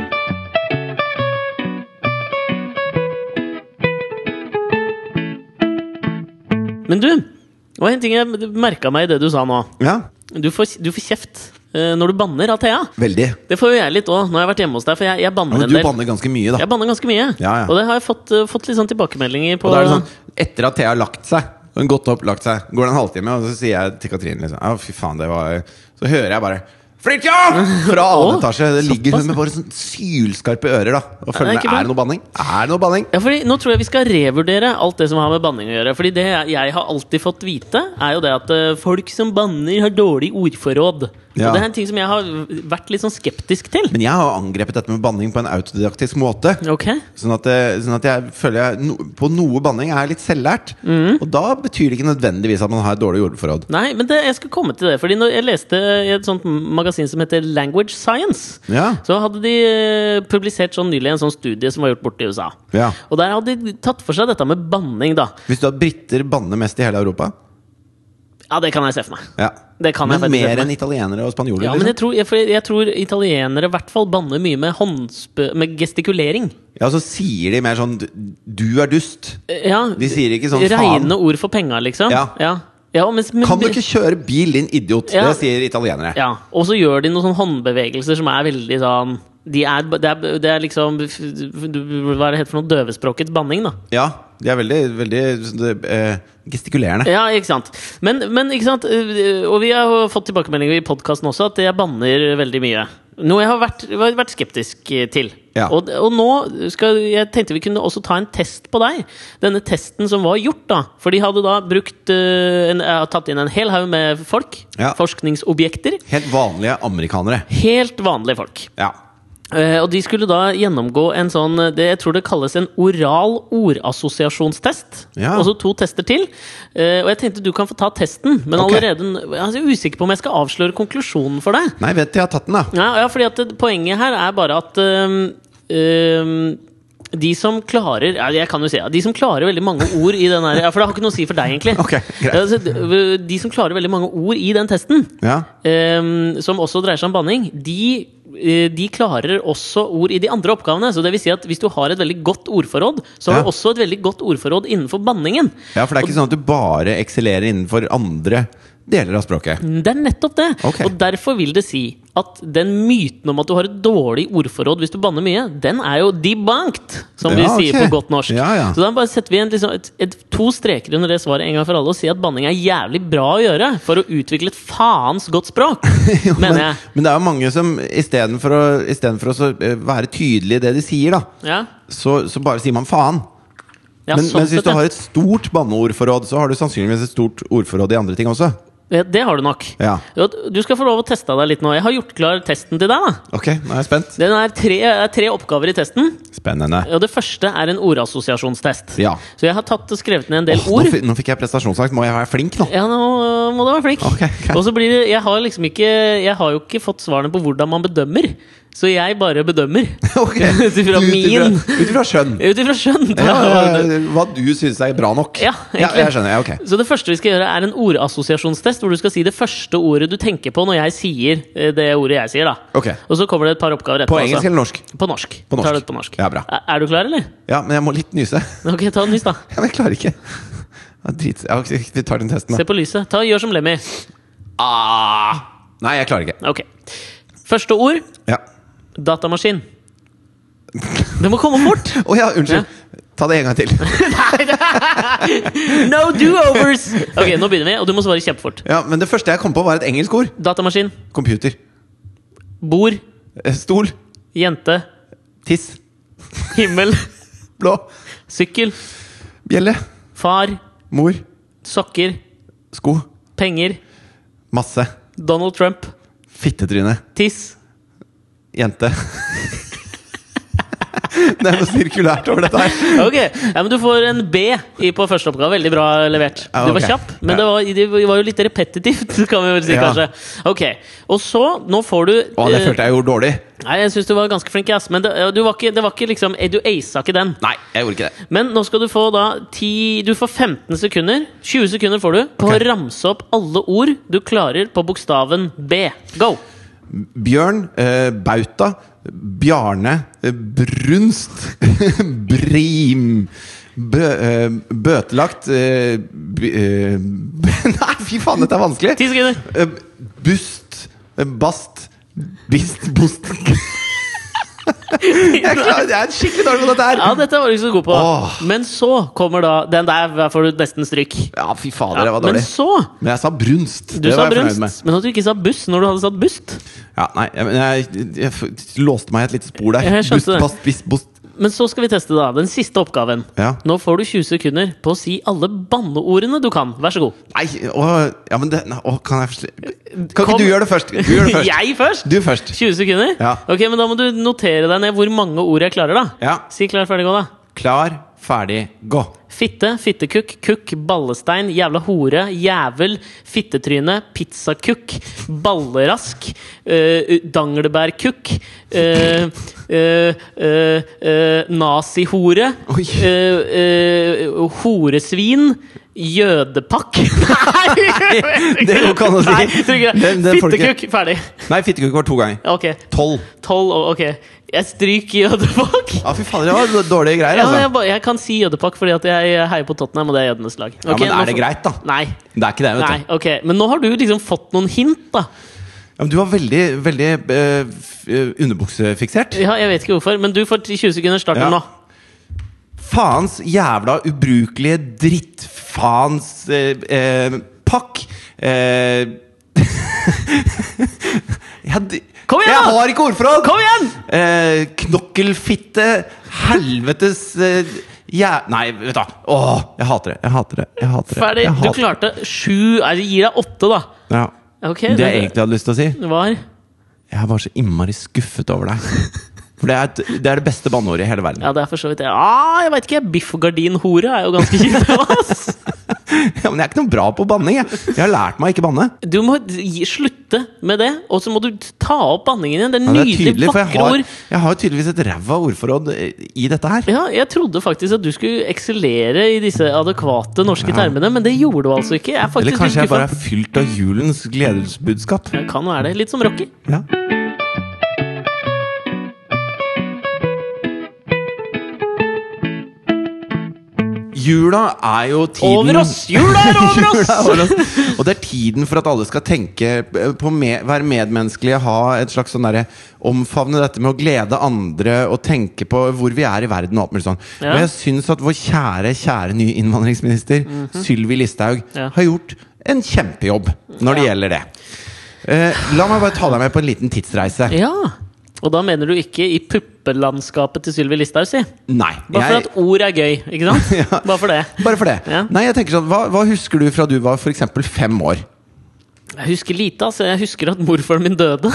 [SPEAKER 2] Men du, det var en ting jeg merka meg i det du sa nå.
[SPEAKER 1] Ja,
[SPEAKER 2] Du får, du får kjeft eh, når du banner av Thea.
[SPEAKER 1] Veldig.
[SPEAKER 2] Det får jo jeg litt òg, når jeg har vært hjemme hos deg. For jeg, jeg banner
[SPEAKER 1] Men
[SPEAKER 2] en
[SPEAKER 1] du
[SPEAKER 2] del.
[SPEAKER 1] banner ganske mye, da.
[SPEAKER 2] Jeg banner ganske mye.
[SPEAKER 1] Ja, ja.
[SPEAKER 2] Og det har jeg fått, eh, fått litt sånn tilbakemeldinger på.
[SPEAKER 1] Og da er det sånn Etter at Thea har lagt seg, hun gått opp, lagt seg, går det en halvtime, og så sier jeg til Katrine liksom Å, fy faen, det var Så hører jeg bare Fridtjof! Fra annen
[SPEAKER 2] Å,
[SPEAKER 1] etasje. Det ligger
[SPEAKER 2] såpass.
[SPEAKER 1] hun med bare sånn sylskarpe ører, da. Og
[SPEAKER 2] det er
[SPEAKER 1] følger med.
[SPEAKER 2] ikke bra.
[SPEAKER 1] Er det noe banning? Er det noe banning?
[SPEAKER 2] Ja, fordi Nå tror jeg vi skal revurdere alt det som har med banning å gjøre. Fordi det jeg- jeg har alltid fått vite, er jo det at eh, folk som banner, har dårlig ordforråd. Og
[SPEAKER 1] Ja.
[SPEAKER 2] det er en ting som jeg har vært litt sånn skeptisk til.
[SPEAKER 1] Men jeg har jo angrepet dette med banning på en autodidaktisk måte.
[SPEAKER 2] Ok
[SPEAKER 1] Sånn at, det- sånn at jeg føler jeg no, på noe banning er jeg litt selvlært.
[SPEAKER 2] Mm.
[SPEAKER 1] Og da betyr det ikke nødvendigvis at man har et dårlig jordforråd.
[SPEAKER 2] Nei, men det, jeg skal komme til det. Fordi når jeg leste i et sånt magasin som heter Language Science,
[SPEAKER 1] Ja.
[SPEAKER 2] så hadde de eh, publisert sånn nylig en sånn studie som var gjort borte i USA.
[SPEAKER 1] Ja.
[SPEAKER 2] Og der hadde de tatt for seg dette med banning, da.
[SPEAKER 1] Hvis du har briter banner mest i hele Europa
[SPEAKER 2] Ja, det kan jeg se for meg.
[SPEAKER 1] ja.
[SPEAKER 2] Det kan jeg
[SPEAKER 1] Men
[SPEAKER 2] faktisk se
[SPEAKER 1] mer
[SPEAKER 2] for
[SPEAKER 1] enn
[SPEAKER 2] meg.
[SPEAKER 1] italienere og spanjoler?
[SPEAKER 2] Ja, men
[SPEAKER 1] liksom.
[SPEAKER 2] jeg tror, jeg, for jeg tror italienere i hvert fall banner mye med, håndspø med gestikulering.
[SPEAKER 1] ja, Så sier de mer sånn "Du- 'du er dust'.
[SPEAKER 2] Eh, Ja,
[SPEAKER 1] De sier ikke sånn, faen.
[SPEAKER 2] Reine ord for penga, liksom.
[SPEAKER 1] Ja.
[SPEAKER 2] ja. ja mens- men-
[SPEAKER 1] Kan du ikke kjøre bil, din idiot?
[SPEAKER 2] Ja.
[SPEAKER 1] Det sier italienere.
[SPEAKER 2] Ja, og så gjør de noen sånne håndbevegelser som er veldig sånn de er, det, er, det er liksom f- du- Hva er det heter for noe? Døvespråkets banning, da.
[SPEAKER 1] Ja, de er veldig, veldig sånn, det, eh, gestikulerende.
[SPEAKER 2] Ja, ikke sant. Men, men ikke sant? øh, Og vi har jo fått tilbakemeldinger i podkasten også at jeg banner veldig mye. Noe jeg har vært, har vært skeptisk eh, til.
[SPEAKER 1] Ja.
[SPEAKER 2] Og, og nå skal, jeg tenkte vi kunne også ta en test på deg. Denne testen som var gjort, da. For de hadde da brukt øh, en, eh, tatt inn en hel haug med folk.
[SPEAKER 1] Ja.
[SPEAKER 2] Forskningsobjekter.
[SPEAKER 1] Helt vanlige amerikanere.
[SPEAKER 2] Helt vanlige folk.
[SPEAKER 1] Ja.
[SPEAKER 2] Eh, og de skulle da gjennomgå en sånn eh, det jeg tror det kalles en oral ordassosiasjonstest.
[SPEAKER 1] Ja.
[SPEAKER 2] Og så to tester til. Eh, og jeg tenkte du kan få ta testen, men
[SPEAKER 1] Ok.
[SPEAKER 2] allerede n- jeg er usikker på om jeg skal avsløre konklusjonen for deg.
[SPEAKER 1] Nei, vet du, jeg har tatt den, da.
[SPEAKER 2] Ja, ja fordi at det, poenget her er bare at øhm, øhm, de som klarer ja, jeg kan jo si, ja, De som klarer veldig mange ord i den her ja, For det har ikke noe å si for deg, egentlig.
[SPEAKER 1] Ok, greit.
[SPEAKER 2] Ja, altså, d- de som klarer veldig mange ord i den testen,
[SPEAKER 1] Ja.
[SPEAKER 2] Ehm, som også dreier seg om banning, de, eh, de klarer også ord i de andre oppgavene. Så det vil si at hvis du har et veldig godt ordforråd, så har
[SPEAKER 1] Ja.
[SPEAKER 2] du også et veldig godt ordforråd innenfor banningen.
[SPEAKER 1] ja, for det er ikke sånn at du bare eksellerer innenfor andre deler av språket.
[SPEAKER 2] Det er nettopp det!
[SPEAKER 1] Ok.
[SPEAKER 2] Og derfor vil det si at den myten om at du har et dårlig ordforråd hvis du banner mye, den er jo debunked, som vi
[SPEAKER 1] Ja, ok.
[SPEAKER 2] sier på godt norsk.
[SPEAKER 1] Ja, ja.
[SPEAKER 2] Så da bare setter vi en, liksom, et, et, to streker under det svaret en gang for alle og sier at banning er jævlig bra å gjøre for å utvikle et faens godt språk, Mm, mener jeg.
[SPEAKER 1] Men det er jo mange som istedenfor å, istedenfor å så, eh, være tydelig i det de sier, da,
[SPEAKER 2] Ja.
[SPEAKER 1] så, så bare sier man faen.
[SPEAKER 2] Ja,
[SPEAKER 1] men,
[SPEAKER 2] sånn
[SPEAKER 1] mens hvis
[SPEAKER 2] sett,
[SPEAKER 1] du
[SPEAKER 2] ja.
[SPEAKER 1] har et stort banneordforråd, så har du sannsynligvis et stort ordforråd i andre ting også.
[SPEAKER 2] Ja, Det har du nok.
[SPEAKER 1] Ja.
[SPEAKER 2] Jo, Du skal få lov å teste deg litt nå. Jeg har gjort klar testen til deg. da
[SPEAKER 1] Ok, nå er jeg spent.
[SPEAKER 2] Den er tre, er tre oppgaver i testen.
[SPEAKER 1] Spennende.
[SPEAKER 2] Og det første er en ordassosiasjonstest.
[SPEAKER 1] Ja.
[SPEAKER 2] Så jeg har tatt og skrevet ned en del
[SPEAKER 1] Åh, nå,
[SPEAKER 2] ord.
[SPEAKER 1] fi- nå fikk jeg prestasjonsangst. Må jeg være flink nå?
[SPEAKER 2] Ja, nå øh, må du være flink.
[SPEAKER 1] Ok, ok.
[SPEAKER 2] Og så blir det Jeg har liksom ikke Jeg har jo ikke fått svarene på hvordan man bedømmer, så jeg bare bedømmer.
[SPEAKER 1] Ok.
[SPEAKER 2] Ut ifra
[SPEAKER 1] Ut ifra-
[SPEAKER 2] min.
[SPEAKER 1] Ut ifra skjønn.
[SPEAKER 2] Ut ifra skjønn.
[SPEAKER 1] Ja, ja, ja, hva du syns er bra nok.
[SPEAKER 2] Ja, egentlig.
[SPEAKER 1] jeg skjønner. Ja, ok.
[SPEAKER 2] Så det første vi skal gjøre, er en ordassosiasjonstest, hvor du skal si det første ordet du tenker på når jeg sier eh, det ordet jeg sier. da
[SPEAKER 1] Ok.
[SPEAKER 2] Og så kommer det et par oppgaver etterpå.
[SPEAKER 1] På
[SPEAKER 2] altså.
[SPEAKER 1] engelsk eller norsk?
[SPEAKER 2] På norsk.
[SPEAKER 1] På norsk.
[SPEAKER 2] Tar det på norsk.
[SPEAKER 1] Ja, bra.
[SPEAKER 2] Er, er du klar, eller?
[SPEAKER 1] Ja, men jeg må litt nyse.
[SPEAKER 2] Ok, ta en nys, da.
[SPEAKER 1] Ja, men jeg klarer ikke. Ja, drit. Ja, ok, vi tar den testen,
[SPEAKER 2] Se
[SPEAKER 1] da.
[SPEAKER 2] på lyset. Ta, gjør som Lemmy.
[SPEAKER 1] Ah. Nei, jeg klarer ikke.
[SPEAKER 2] Ok. Første ord
[SPEAKER 1] Ja.
[SPEAKER 2] datamaskin. Det må komme fort!
[SPEAKER 1] Å ja, unnskyld. Ta det en gang til.
[SPEAKER 2] No do-overs! Ok, Nå begynner vi, og du må svare kjempefort.
[SPEAKER 1] Ja, Men det første jeg kom på, var et engelsk ord.
[SPEAKER 2] Datamaskin,
[SPEAKER 1] Computer.
[SPEAKER 2] bord,
[SPEAKER 1] Eh, Stol.
[SPEAKER 2] jente,
[SPEAKER 1] Tiss.
[SPEAKER 2] himmel,
[SPEAKER 1] Blå.
[SPEAKER 2] sykkel,
[SPEAKER 1] Bjelle.
[SPEAKER 2] far,
[SPEAKER 1] Mor.
[SPEAKER 2] sokker,
[SPEAKER 1] Sko.
[SPEAKER 2] penger,
[SPEAKER 1] Masse.
[SPEAKER 2] Donald Trump,
[SPEAKER 1] Fittetryne.
[SPEAKER 2] tiss.
[SPEAKER 1] Jente. Det er noe sirkulært over dette her.
[SPEAKER 2] Ok, ja, men Du får en B i på første oppgave. Veldig bra levert.
[SPEAKER 1] Ja,
[SPEAKER 2] Du var
[SPEAKER 1] ok.
[SPEAKER 2] kjapp, men
[SPEAKER 1] Ja.
[SPEAKER 2] det, var, det var jo litt repetitivt, kan vi vel si,
[SPEAKER 1] Ja.
[SPEAKER 2] kanskje. Ok, Og så, nå får du
[SPEAKER 1] Å, det
[SPEAKER 2] eh,
[SPEAKER 1] følte jeg gjorde dårlig.
[SPEAKER 2] Nei, jeg syns du var ganske flink, ass, men det, du var ikke, det var ikke liksom eh, Du aisa ikke den.
[SPEAKER 1] Nei, jeg gjorde ikke det.
[SPEAKER 2] Men nå skal du få da 10 Du får 15 sekunder. 20 sekunder får du på
[SPEAKER 1] Ok.
[SPEAKER 2] å ramse opp alle ord du klarer på bokstaven B. Go!
[SPEAKER 1] Bjørn. Eh, Bauta. Bjarne. Eh, brunst. Brim. Bø, eh, bøtelagt. Eh, b, eh, b, nei, fy faen, dette er vanskelig!
[SPEAKER 2] 10 sekunder.
[SPEAKER 1] Eh, Bust eh, Bast Bist Bost Jeg klarer, jeg er skikkelig dårlig på dette her
[SPEAKER 2] Ja, dette var du ikke så god på.
[SPEAKER 1] Åh.
[SPEAKER 2] Men så kommer da Den der får du nesten stryk.
[SPEAKER 1] Ja, fy fader, det
[SPEAKER 2] Ja,
[SPEAKER 1] var
[SPEAKER 2] men
[SPEAKER 1] dårlig
[SPEAKER 2] så
[SPEAKER 1] Men jeg sa brunst
[SPEAKER 2] Du
[SPEAKER 1] Det
[SPEAKER 2] sa
[SPEAKER 1] var jeg fornøyd
[SPEAKER 2] brunst, men at du ikke sa buss når du hadde satt bust.
[SPEAKER 1] med ja, Nei, jeg, men jeg, jeg f- låste meg i et lite spor der
[SPEAKER 2] Jeg skjønte
[SPEAKER 1] Bust,
[SPEAKER 2] det.
[SPEAKER 1] bast, bist, bost
[SPEAKER 2] Men så skal vi teste da, den siste oppgaven.
[SPEAKER 1] Ja.
[SPEAKER 2] Nå får du 20 sekunder på å si alle banneordene du kan. Vær så god.
[SPEAKER 1] Nei, å, ja, men det nei, å, Kan jeg forsli- Kan
[SPEAKER 2] Kom.
[SPEAKER 1] ikke du gjøre det først? Du gjør det først.
[SPEAKER 2] jeg først?
[SPEAKER 1] Du først.
[SPEAKER 2] 20 sekunder?
[SPEAKER 1] Ja.
[SPEAKER 2] Ok, men Da må du notere deg ned hvor mange ord jeg klarer. da
[SPEAKER 1] Ja.
[SPEAKER 2] Si klar, ferdig, gå, da.
[SPEAKER 1] Klar, ferdig, gå.
[SPEAKER 2] Fitte, fittekukk, kukk, ballestein, jævla hore, jævel, fittetryne, pizzakukk, ballerask, øh, danglebærkukk, øh, øh, øh, øh, nazihore,
[SPEAKER 1] Oi.
[SPEAKER 2] øh, øh, horesvin, jødepakk Nei!
[SPEAKER 1] Det går ikke an å si.
[SPEAKER 2] Nei, jeg tror ikke det.
[SPEAKER 1] Den- den får du ikke-
[SPEAKER 2] Fittekukk, ferdig.
[SPEAKER 1] Nei, fittekukk var to ganger.
[SPEAKER 2] Ok.
[SPEAKER 1] Tolv.
[SPEAKER 2] Tolv, og- ok. Jeg stryker jødepakk.
[SPEAKER 1] Ja, fy fader, det var dårlige greier,
[SPEAKER 2] Ja,
[SPEAKER 1] altså.
[SPEAKER 2] jeg, bare, jeg kan si jødepakk fordi at jeg heier på Tottenham, og det er jødenes lag.
[SPEAKER 1] Ja,
[SPEAKER 2] Ok,
[SPEAKER 1] men
[SPEAKER 2] nå
[SPEAKER 1] er det
[SPEAKER 2] får-
[SPEAKER 1] greit, da?
[SPEAKER 2] Nei.
[SPEAKER 1] Det er ikke det, vet
[SPEAKER 2] Nei,
[SPEAKER 1] du.
[SPEAKER 2] ok Men nå har du liksom fått noen hint, da.
[SPEAKER 1] Ja, men du var veldig, veldig eh, f- eh, underbuksefiksert.
[SPEAKER 2] Ja, Jeg vet ikke hvorfor, men du får 20 sekunder starten
[SPEAKER 1] Ja.
[SPEAKER 2] nå.
[SPEAKER 1] Faens jævla ubrukelige drittfaens eh, eh, pakk. Eh, jeg, d-
[SPEAKER 2] Kom igjen,
[SPEAKER 1] Jeg
[SPEAKER 2] da!
[SPEAKER 1] har ikke ordforråd!
[SPEAKER 2] Kom igjen!
[SPEAKER 1] Eh, knokkelfitte, helvetes eh, jæ... Nei, vet du hva. Åh, jeg hater det. Jeg hater det. Jeg hater det.
[SPEAKER 2] Ferdig.
[SPEAKER 1] Jeg
[SPEAKER 2] Du
[SPEAKER 1] hater det.
[SPEAKER 2] klarte sju Nei, jeg gir deg åtte, da.
[SPEAKER 1] Ja.
[SPEAKER 2] Ok
[SPEAKER 1] Det jeg
[SPEAKER 2] det-
[SPEAKER 1] egentlig hadde lyst til å si,
[SPEAKER 2] det var
[SPEAKER 1] jeg var så innmari skuffet over deg. For det er, et, det er det beste banneordet i hele verden.
[SPEAKER 2] Ja, det er for så vidt det. Ah, jeg veit ikke. Biff og gardin-hore er jo ganske kjipt. ass.
[SPEAKER 1] Ja, men jeg er ikke noe bra på banning. Jeg. jeg har lært meg å ikke banne.
[SPEAKER 2] Du må gi, slutte med det, og så må du ta opp banningen igjen. Det er
[SPEAKER 1] Ja, det er
[SPEAKER 2] nydelige,
[SPEAKER 1] tydelig, for jeg
[SPEAKER 2] vakre
[SPEAKER 1] har,
[SPEAKER 2] ord.
[SPEAKER 1] jeg har jo tydeligvis et ræva ordforråd eh, i dette her.
[SPEAKER 2] Ja, jeg trodde faktisk at du skulle eksellere i disse adekvate norske termene, men det gjorde du altså ikke. Jeg er
[SPEAKER 1] Eller
[SPEAKER 2] faktisk litt
[SPEAKER 1] kanskje jeg
[SPEAKER 2] skuffa.
[SPEAKER 1] bare er fylt av julens gledesbudskap.
[SPEAKER 2] Det Kan være det. Litt som Rocky.
[SPEAKER 1] Ja. Jula er jo tiden
[SPEAKER 2] Over oss! Jula er over
[SPEAKER 1] Jula
[SPEAKER 2] oss!
[SPEAKER 1] er over oss! Og det er tiden for at alle skal tenke eh, på me være medmenneskelige, ha et slags sånn derre Omfavne dette med å glede andre og tenke på hvor vi er i verden og alt mulig sånn.
[SPEAKER 2] Ja.
[SPEAKER 1] Og jeg syns at vår kjære, kjære nye innvandringsminister Sylvi Listhaug
[SPEAKER 2] Mhm. Ja.
[SPEAKER 1] har gjort en kjempejobb når det
[SPEAKER 2] Ja.
[SPEAKER 1] gjelder det. Eh, la meg bare ta deg med på en liten tidsreise.
[SPEAKER 2] Ja. Og da mener du ikke i puppelandskapet til Sylvi Listhaug, si.
[SPEAKER 1] Nei.
[SPEAKER 2] Bare for
[SPEAKER 1] Jeg,
[SPEAKER 2] at ord er gøy, ikke sant? Bare for det.
[SPEAKER 1] bare for det.
[SPEAKER 2] Ja.
[SPEAKER 1] Nei, jeg tenker sånn, hva, hva husker du fra du var f.eks. fem år?
[SPEAKER 2] Jeg husker lite, altså. Jeg husker at morfaren min døde.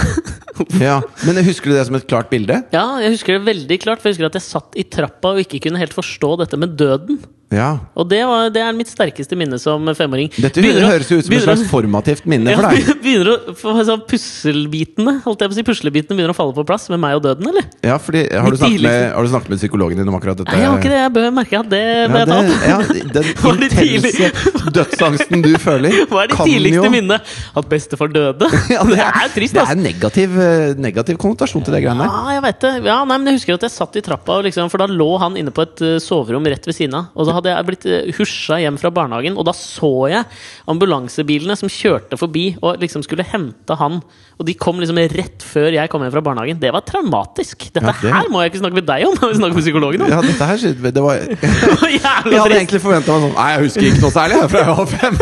[SPEAKER 1] Ja. Men husker du det som et klart bilde?
[SPEAKER 2] ja, jeg husker det veldig klart, for jeg husker at jeg satt i trappa og ikke kunne helt forstå dette med døden.
[SPEAKER 1] Ja.
[SPEAKER 2] Og det, var, det er mitt sterkeste minne som femåring.
[SPEAKER 1] Dette
[SPEAKER 2] Begynner å-
[SPEAKER 1] høres jo ut som et
[SPEAKER 2] begynner å-
[SPEAKER 1] slags formativt minne
[SPEAKER 2] ja,
[SPEAKER 1] for deg.
[SPEAKER 2] begynner å få sånn Pusselbitene holdt jeg på å si, puslebitene begynner å falle på plass med meg og døden, eller?
[SPEAKER 1] Ja, fordi, har, du
[SPEAKER 2] Mitt
[SPEAKER 1] snakket med,
[SPEAKER 2] tidligste-
[SPEAKER 1] har du snakket med psykologen din om akkurat dette?
[SPEAKER 2] Nei, jeg har ikke det. Jeg bør merke at det ble
[SPEAKER 1] Ja, det,
[SPEAKER 2] tatt.
[SPEAKER 1] ja, den
[SPEAKER 2] Var det tidlig?
[SPEAKER 1] intense dødsangsten du føler,
[SPEAKER 2] Hva er det
[SPEAKER 1] kan
[SPEAKER 2] tidligste
[SPEAKER 1] jo-
[SPEAKER 2] minnet? At bestefar døde?
[SPEAKER 1] Ja,
[SPEAKER 2] det, er, trist,
[SPEAKER 1] det
[SPEAKER 2] altså.
[SPEAKER 1] er en negativ, eh, negativ konnotasjon til det greiene der.
[SPEAKER 2] Ja, jeg vet det. Ja, nei, men jeg husker at jeg satt i trappa, og liksom, for da lå han inne på et eh, soverom rett ved siden av. Og så hadde jeg blitt eh, husja hjem fra barnehagen, og da så jeg ambulansebilene som kjørte forbi og liksom skulle hente han. Og de kom liksom rett før jeg kom hjem fra barnehagen. Det var traumatisk. Dette
[SPEAKER 1] Ja, det-
[SPEAKER 2] her må jeg ikke snakke med deg om, jeg vil snakke med psykologen om.
[SPEAKER 1] Ja, dette her, det var, jeg
[SPEAKER 2] Jævla
[SPEAKER 1] hadde
[SPEAKER 2] trist.
[SPEAKER 1] egentlig forventa meg sånn Nei, jeg husker ikke noe særlig jeg, fra jeg var fem.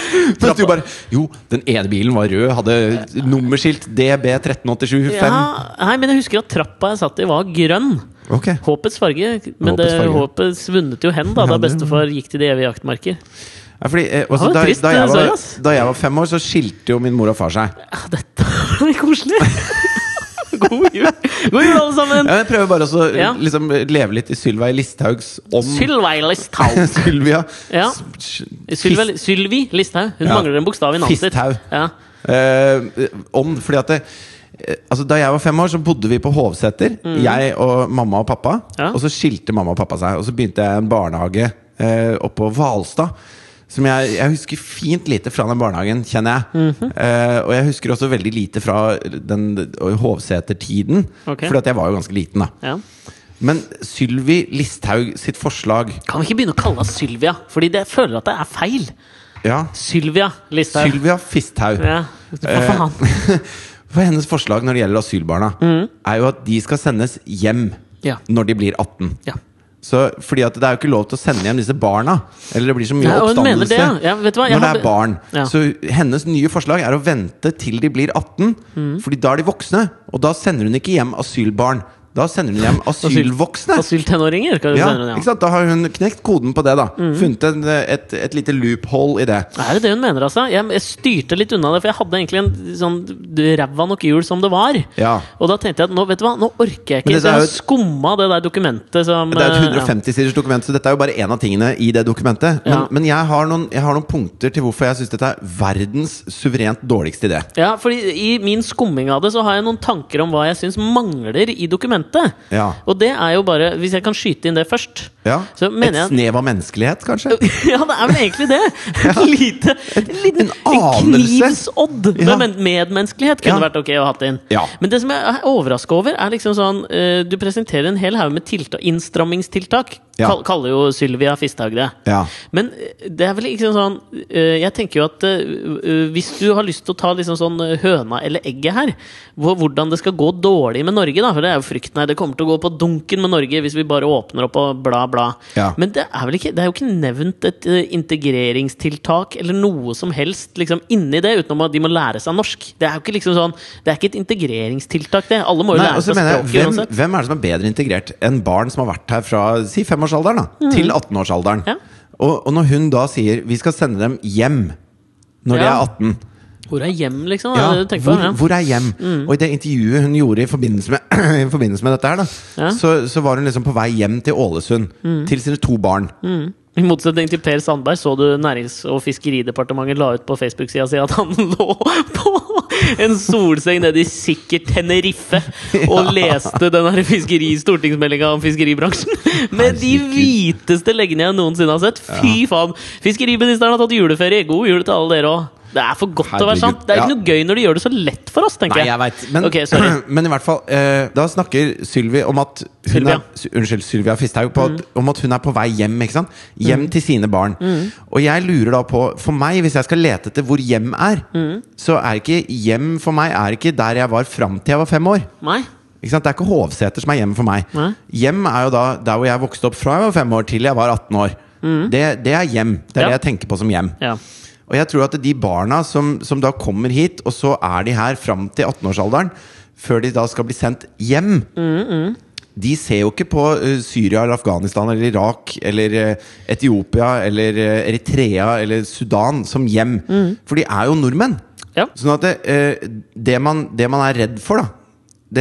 [SPEAKER 1] Mens du bare Jo, den ene bilen var rød, hadde nummerskilt DB1387
[SPEAKER 2] Ja, nei, men jeg husker at trappa jeg satt i, var grønn.
[SPEAKER 1] Ok.
[SPEAKER 2] Håpets farge. Men
[SPEAKER 1] Håpets
[SPEAKER 2] det
[SPEAKER 1] farge.
[SPEAKER 2] håpet svunnet jo hen da, da
[SPEAKER 1] Ja, det-
[SPEAKER 2] bestefar gikk til de evige jaktmarker.
[SPEAKER 1] Ja, fordi, eh,
[SPEAKER 2] Det
[SPEAKER 1] altså,
[SPEAKER 2] var
[SPEAKER 1] da,
[SPEAKER 2] trist,
[SPEAKER 1] da, jeg
[SPEAKER 2] sorry,
[SPEAKER 1] var,
[SPEAKER 2] ass.
[SPEAKER 1] da jeg var fem år, så skilte jo min mor og far seg.
[SPEAKER 2] Ja, dette var koselig! God jul, God jul alle sammen!
[SPEAKER 1] Jeg prøver bare å
[SPEAKER 2] Ja.
[SPEAKER 1] liksom, leve litt i Sylvi Listhaugs ånd.
[SPEAKER 2] Sylvi Listhaug.
[SPEAKER 1] Sylvia.
[SPEAKER 2] Ja.
[SPEAKER 1] S- s-
[SPEAKER 2] Sylvi- Sylvi Listhaug. Hun
[SPEAKER 1] Ja.
[SPEAKER 2] mangler en bokstav i navnet sitt.
[SPEAKER 1] Fisthaug.
[SPEAKER 2] Ja.
[SPEAKER 1] Eh, om, fordi at det, eh, altså, Da jeg var fem år, så bodde vi på Hovseter. Jeg og mamma og pappa.
[SPEAKER 2] Mm. Ja.
[SPEAKER 1] Og så skilte mamma og pappa seg. Og så begynte jeg i en barnehage eh, oppe på Hvalstad. Som jeg, jeg husker fint lite fra den barnehagen, kjenner jeg.
[SPEAKER 2] Mhm.
[SPEAKER 1] eh, og jeg husker også veldig lite fra den Hovseter-tiden.
[SPEAKER 2] Ok.
[SPEAKER 1] Fordi at jeg var jo ganske liten, da.
[SPEAKER 2] Ja.
[SPEAKER 1] Men Sylvi Listhaug sitt forslag
[SPEAKER 2] Kan vi ikke begynne å kalle henne Sylvia? Fordi det, jeg føler at det er feil.
[SPEAKER 1] Ja,
[SPEAKER 2] Sylvia Listhaug.
[SPEAKER 1] Sylvia Fisthaug.
[SPEAKER 2] Ja. Hva
[SPEAKER 1] Eh,
[SPEAKER 2] faen?
[SPEAKER 1] For hennes forslag når det gjelder asylbarna, er jo at de skal sendes hjem
[SPEAKER 2] Mm. Ja.
[SPEAKER 1] når de blir 18.
[SPEAKER 2] Ja.
[SPEAKER 1] Så, fordi at det er jo ikke lov til å sende hjem disse barna. Eller det blir så mye
[SPEAKER 2] Ja, og hun mener
[SPEAKER 1] oppstandelse
[SPEAKER 2] det, ja. Ja, vet du hva, jeg
[SPEAKER 1] når det
[SPEAKER 2] hadde-
[SPEAKER 1] er barn.
[SPEAKER 2] Ja.
[SPEAKER 1] Så hennes nye forslag
[SPEAKER 2] Mm.
[SPEAKER 1] er å vente til de blir 18, Fordi da er de voksne. Og da sender hun ikke hjem asylbarn. Da sender hun hjem asylvoksne.
[SPEAKER 2] Asyltenåringer. Kan du
[SPEAKER 1] Ja,
[SPEAKER 2] sende den,
[SPEAKER 1] ikke sant? Da har hun knekt koden på det, da.
[SPEAKER 2] Mm.
[SPEAKER 1] Funnet en, et, et lite loophole i det.
[SPEAKER 2] Er det det hun mener, altså? Jeg, jeg styrte litt unna det, for jeg hadde egentlig en sånn ræva nok jul som det var.
[SPEAKER 1] Ja.
[SPEAKER 2] Og da tenkte jeg at nå, vet du hva, nå orker jeg
[SPEAKER 1] Men
[SPEAKER 2] ikke. Jeg
[SPEAKER 1] dette er
[SPEAKER 2] har
[SPEAKER 1] jo et-
[SPEAKER 2] skumma det der dokumentet som
[SPEAKER 1] Det er et
[SPEAKER 2] eh, ja.
[SPEAKER 1] 150-siders dokument, så dette er jo bare én av tingene i det dokumentet. Men,
[SPEAKER 2] Ja.
[SPEAKER 1] men jeg, har noen, jeg har noen punkter til hvorfor jeg syns dette er verdens suverent dårligste idé.
[SPEAKER 2] Ja, fordi I min skumming av det så har jeg noen tanker om hva jeg syns mangler i dokumentet.
[SPEAKER 1] Ja.
[SPEAKER 2] Og det er jo bare Hvis jeg kan skyte inn det først
[SPEAKER 1] Ja.
[SPEAKER 2] Så mener
[SPEAKER 1] Et
[SPEAKER 2] jeg-
[SPEAKER 1] snev av menneskelighet, kanskje?
[SPEAKER 2] Ja, det er vel egentlig det! Et lite, en liten
[SPEAKER 1] en
[SPEAKER 2] en
[SPEAKER 1] anelse.
[SPEAKER 2] knivsodd med
[SPEAKER 1] Ja.
[SPEAKER 2] men- medmenneskelighet kunne
[SPEAKER 1] Ja.
[SPEAKER 2] vært ok å hatt inn.
[SPEAKER 1] Ja.
[SPEAKER 2] Men det som jeg er overraska over, er liksom sånn eh, Du presenterer en hel haug med tiltak, innstrammingstiltak.
[SPEAKER 1] Ja.
[SPEAKER 2] Kall, kaller jo Sylvia Fisthaug det.
[SPEAKER 1] Ja.
[SPEAKER 2] Men eh, det er vel liksom sånn eh, Jeg tenker jo at eh, eh, hvis du har lyst til å ta liksom sånn eh, høna eller egget her, hvor, hvordan det skal gå dårlig med Norge, da, for det er jo frykten her, det kommer til å gå på dunken med Norge hvis vi bare åpner opp og bla, bla.
[SPEAKER 1] Ja.
[SPEAKER 2] Men det er vel ikke Det er jo ikke nevnt et eh, integreringstiltak eller noe som helst liksom inni det, utenom at de må lære seg norsk. Det er jo ikke liksom sånn Det er ikke et integreringstiltak, det. Alle må jo
[SPEAKER 1] Nei, og
[SPEAKER 2] lære
[SPEAKER 1] så
[SPEAKER 2] seg
[SPEAKER 1] mener jeg,
[SPEAKER 2] språket
[SPEAKER 1] hvem,
[SPEAKER 2] uansett.
[SPEAKER 1] hvem er det som er bedre integrert enn barn som har vært her fra si femårsalderen da, til 18-årsalderen?
[SPEAKER 2] Mm. Ja.
[SPEAKER 1] Og, og når hun da sier 'vi skal sende dem hjem' når
[SPEAKER 2] Ja.
[SPEAKER 1] de er 18
[SPEAKER 2] Hvor er hjem, liksom?
[SPEAKER 1] ja,
[SPEAKER 2] er det Mm. du tenker på?
[SPEAKER 1] hvor,
[SPEAKER 2] Ja.
[SPEAKER 1] hvor er hjem? Og i det intervjuet hun gjorde i forbindelse med, i forbindelse med dette her, da,
[SPEAKER 2] Ja. Mm.
[SPEAKER 1] så, så var hun liksom på vei hjem til Ålesund. Til sine to barn.
[SPEAKER 2] I motsetning til Per Sandberg så du Nærings- og fiskeridepartementet la ut på Facebook-sida si at han lå på en solseng nede i sikkert Tenerife og leste den her fiskeri stortingsmeldinga om fiskeribransjen med de
[SPEAKER 1] Herregud.
[SPEAKER 2] hviteste leggene jeg noensinne har sett. Fy faen! Fiskeriministeren har tatt juleferie. God jul til alle dere òg. Det er for godt til å
[SPEAKER 1] Herregud.
[SPEAKER 2] være sant. Det er ikke
[SPEAKER 1] Ja.
[SPEAKER 2] noe gøy når de gjør det så lett for oss, tenker
[SPEAKER 1] Nei,
[SPEAKER 2] jeg.
[SPEAKER 1] jeg vet men,
[SPEAKER 2] Ok, sorry.
[SPEAKER 1] men i hvert fall, eh, da snakker Sylvi om at hun
[SPEAKER 2] Sylvia. Mm.
[SPEAKER 1] Er, Sy- Unnskyld, Sylvia Fisthaug. på at- Om at hun er på vei hjem. ikke sant? Hjem til sine barn.
[SPEAKER 2] Mm.
[SPEAKER 1] Og jeg lurer da på For meg, hvis jeg skal lete etter hvor hjem er,
[SPEAKER 2] Mm.
[SPEAKER 1] så er ikke hjem for meg er ikke der jeg var fram til jeg var fem år.
[SPEAKER 2] Nei?
[SPEAKER 1] Ikke sant? Det er ikke Hovseter som er hjem for meg.
[SPEAKER 2] Nei.
[SPEAKER 1] Hjem er jo da der hvor jeg vokste opp fra jeg var fem år til jeg var 18 år. Det, det er hjem.
[SPEAKER 2] Mm. Ja.
[SPEAKER 1] Det er det jeg tenker på som hjem.
[SPEAKER 2] Ja.
[SPEAKER 1] Og jeg tror at de barna som, som da kommer hit, og så er de her fram til 18-årsalderen, før de da skal bli sendt hjem De ser jo ikke på eh, Syria eller Afghanistan eller Irak eller eh, Etiopia eller eh, Eritrea eller Sudan som hjem.
[SPEAKER 2] Mm.
[SPEAKER 1] For de er jo nordmenn.
[SPEAKER 2] Ja.
[SPEAKER 1] Sånn at det, eh, det, man, det man er redd for, da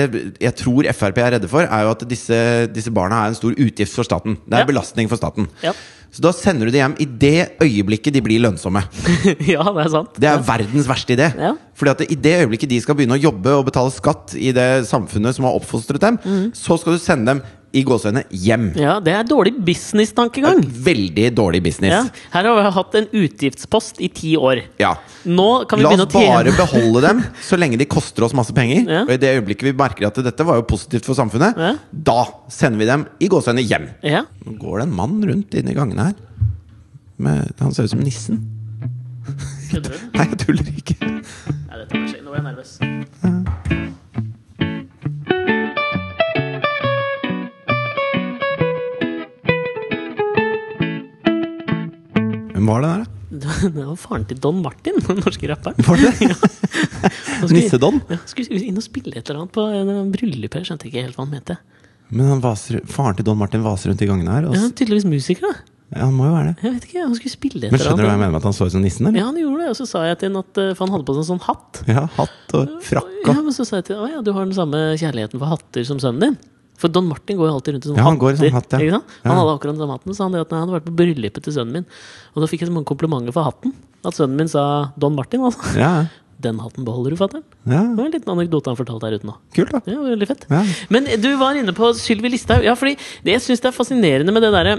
[SPEAKER 1] det, jeg tror Frp er redde for, er jo at disse, disse barna er en stor utgift for staten. Det er
[SPEAKER 2] Ja.
[SPEAKER 1] en belastning for staten.
[SPEAKER 2] Ja.
[SPEAKER 1] Så da sender du dem hjem i det øyeblikket de blir lønnsomme.
[SPEAKER 2] ja, det er sant.
[SPEAKER 1] Det er verdens verste idé.
[SPEAKER 2] Ja.
[SPEAKER 1] Fordi at i det øyeblikket de skal begynne å jobbe og betale skatt i det samfunnet som har oppfostret dem,
[SPEAKER 2] Mhm.
[SPEAKER 1] så skal du sende dem i gåsehudene hjem.
[SPEAKER 2] Ja, det er dårlig business-tankegang.
[SPEAKER 1] Veldig dårlig
[SPEAKER 2] Ja.
[SPEAKER 1] business.
[SPEAKER 2] Her har vi hatt en utgiftspost i ti år.
[SPEAKER 1] Ja.
[SPEAKER 2] Nå kan vi
[SPEAKER 1] La
[SPEAKER 2] begynne å
[SPEAKER 1] oss bare
[SPEAKER 2] tjene
[SPEAKER 1] beholde dem så lenge de koster oss masse penger.
[SPEAKER 2] Ja.
[SPEAKER 1] Og i det øyeblikket vi merker at dette var jo positivt for samfunnet,
[SPEAKER 2] Ja.
[SPEAKER 1] da sender vi dem i gåsehudene hjem.
[SPEAKER 2] ja.
[SPEAKER 1] Nå går det en mann rundt inne i gangene her. Med, han ser ut som nissen.
[SPEAKER 2] Kødder du?
[SPEAKER 1] Nei, jeg tuller ikke.
[SPEAKER 2] Nei, dette må skje. Nå ble jeg nervøs.
[SPEAKER 1] Hvem var det der, da?
[SPEAKER 2] Det var faren til Don Martin, den norske rapperen.
[SPEAKER 1] Var det det?
[SPEAKER 2] Han skulle-
[SPEAKER 1] Nissedon?
[SPEAKER 2] Ja, skulle inn og spille et eller annet på en bryllup her. Skjønte ikke helt hva han mente.
[SPEAKER 1] Men han vaser, faren til Don Martin vaser rundt i gangene her. Og,
[SPEAKER 2] Ja,
[SPEAKER 1] s-
[SPEAKER 2] han er tydeligvis musiker, da.
[SPEAKER 1] ja, han må jo være det.
[SPEAKER 2] Jeg vet ikke, Han skulle spille et
[SPEAKER 1] Men
[SPEAKER 2] eller
[SPEAKER 1] skjønner du hva jeg
[SPEAKER 2] annet.
[SPEAKER 1] mener med at han så ut som nissen, eller?
[SPEAKER 2] Ja, han gjorde det, og så sa jeg til han at eh, For han hadde på seg en sånn hatt.
[SPEAKER 1] Ja, hatt og frakk
[SPEAKER 2] Ja,
[SPEAKER 1] og
[SPEAKER 2] men så sa jeg til han, Å ja, du har den samme kjærligheten for hatter som sønnen din. For Don Martin går jo alltid rundt i sånne
[SPEAKER 1] Ja, han går i sånn hatt, ja.
[SPEAKER 2] ikke sant? Han
[SPEAKER 1] Ja.
[SPEAKER 2] hadde akkurat den samme hatten, så han det at han hadde vært på bryllupet til sønnen min. Og da fikk jeg så mange komplimenter for hatten at sønnen min sa Don Martin, altså.
[SPEAKER 1] Ja,
[SPEAKER 2] Den hatten beholder du, fatter'n.
[SPEAKER 1] ja.
[SPEAKER 2] Det var en liten anekdote han fortalte her ute nå.
[SPEAKER 1] Kult, da.
[SPEAKER 2] Det var veldig fett.
[SPEAKER 1] Ja.
[SPEAKER 2] Men du var inne på Sylvi Listhaug. Ja, fordi det jeg syns det er fascinerende med det derre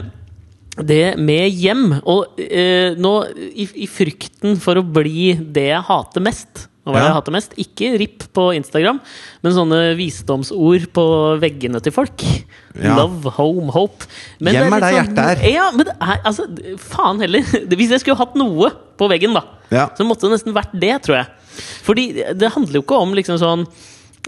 [SPEAKER 2] det med hjem, og eh, nå i, i frykten for å bli det jeg hater mest og hva
[SPEAKER 1] Ja.
[SPEAKER 2] jeg hater mest, Ikke ripp på Instagram, men sånne visdomsord på veggene til folk.
[SPEAKER 1] Ja.
[SPEAKER 2] Love, home, hope. Men
[SPEAKER 1] Hjem er
[SPEAKER 2] litt sånn-
[SPEAKER 1] der hjertet er.
[SPEAKER 2] Ja, men det er, altså, faen heller. Hvis jeg skulle hatt noe på veggen, da,
[SPEAKER 1] Ja.
[SPEAKER 2] så måtte det nesten vært det, tror jeg. Fordi det handler jo ikke om liksom sånn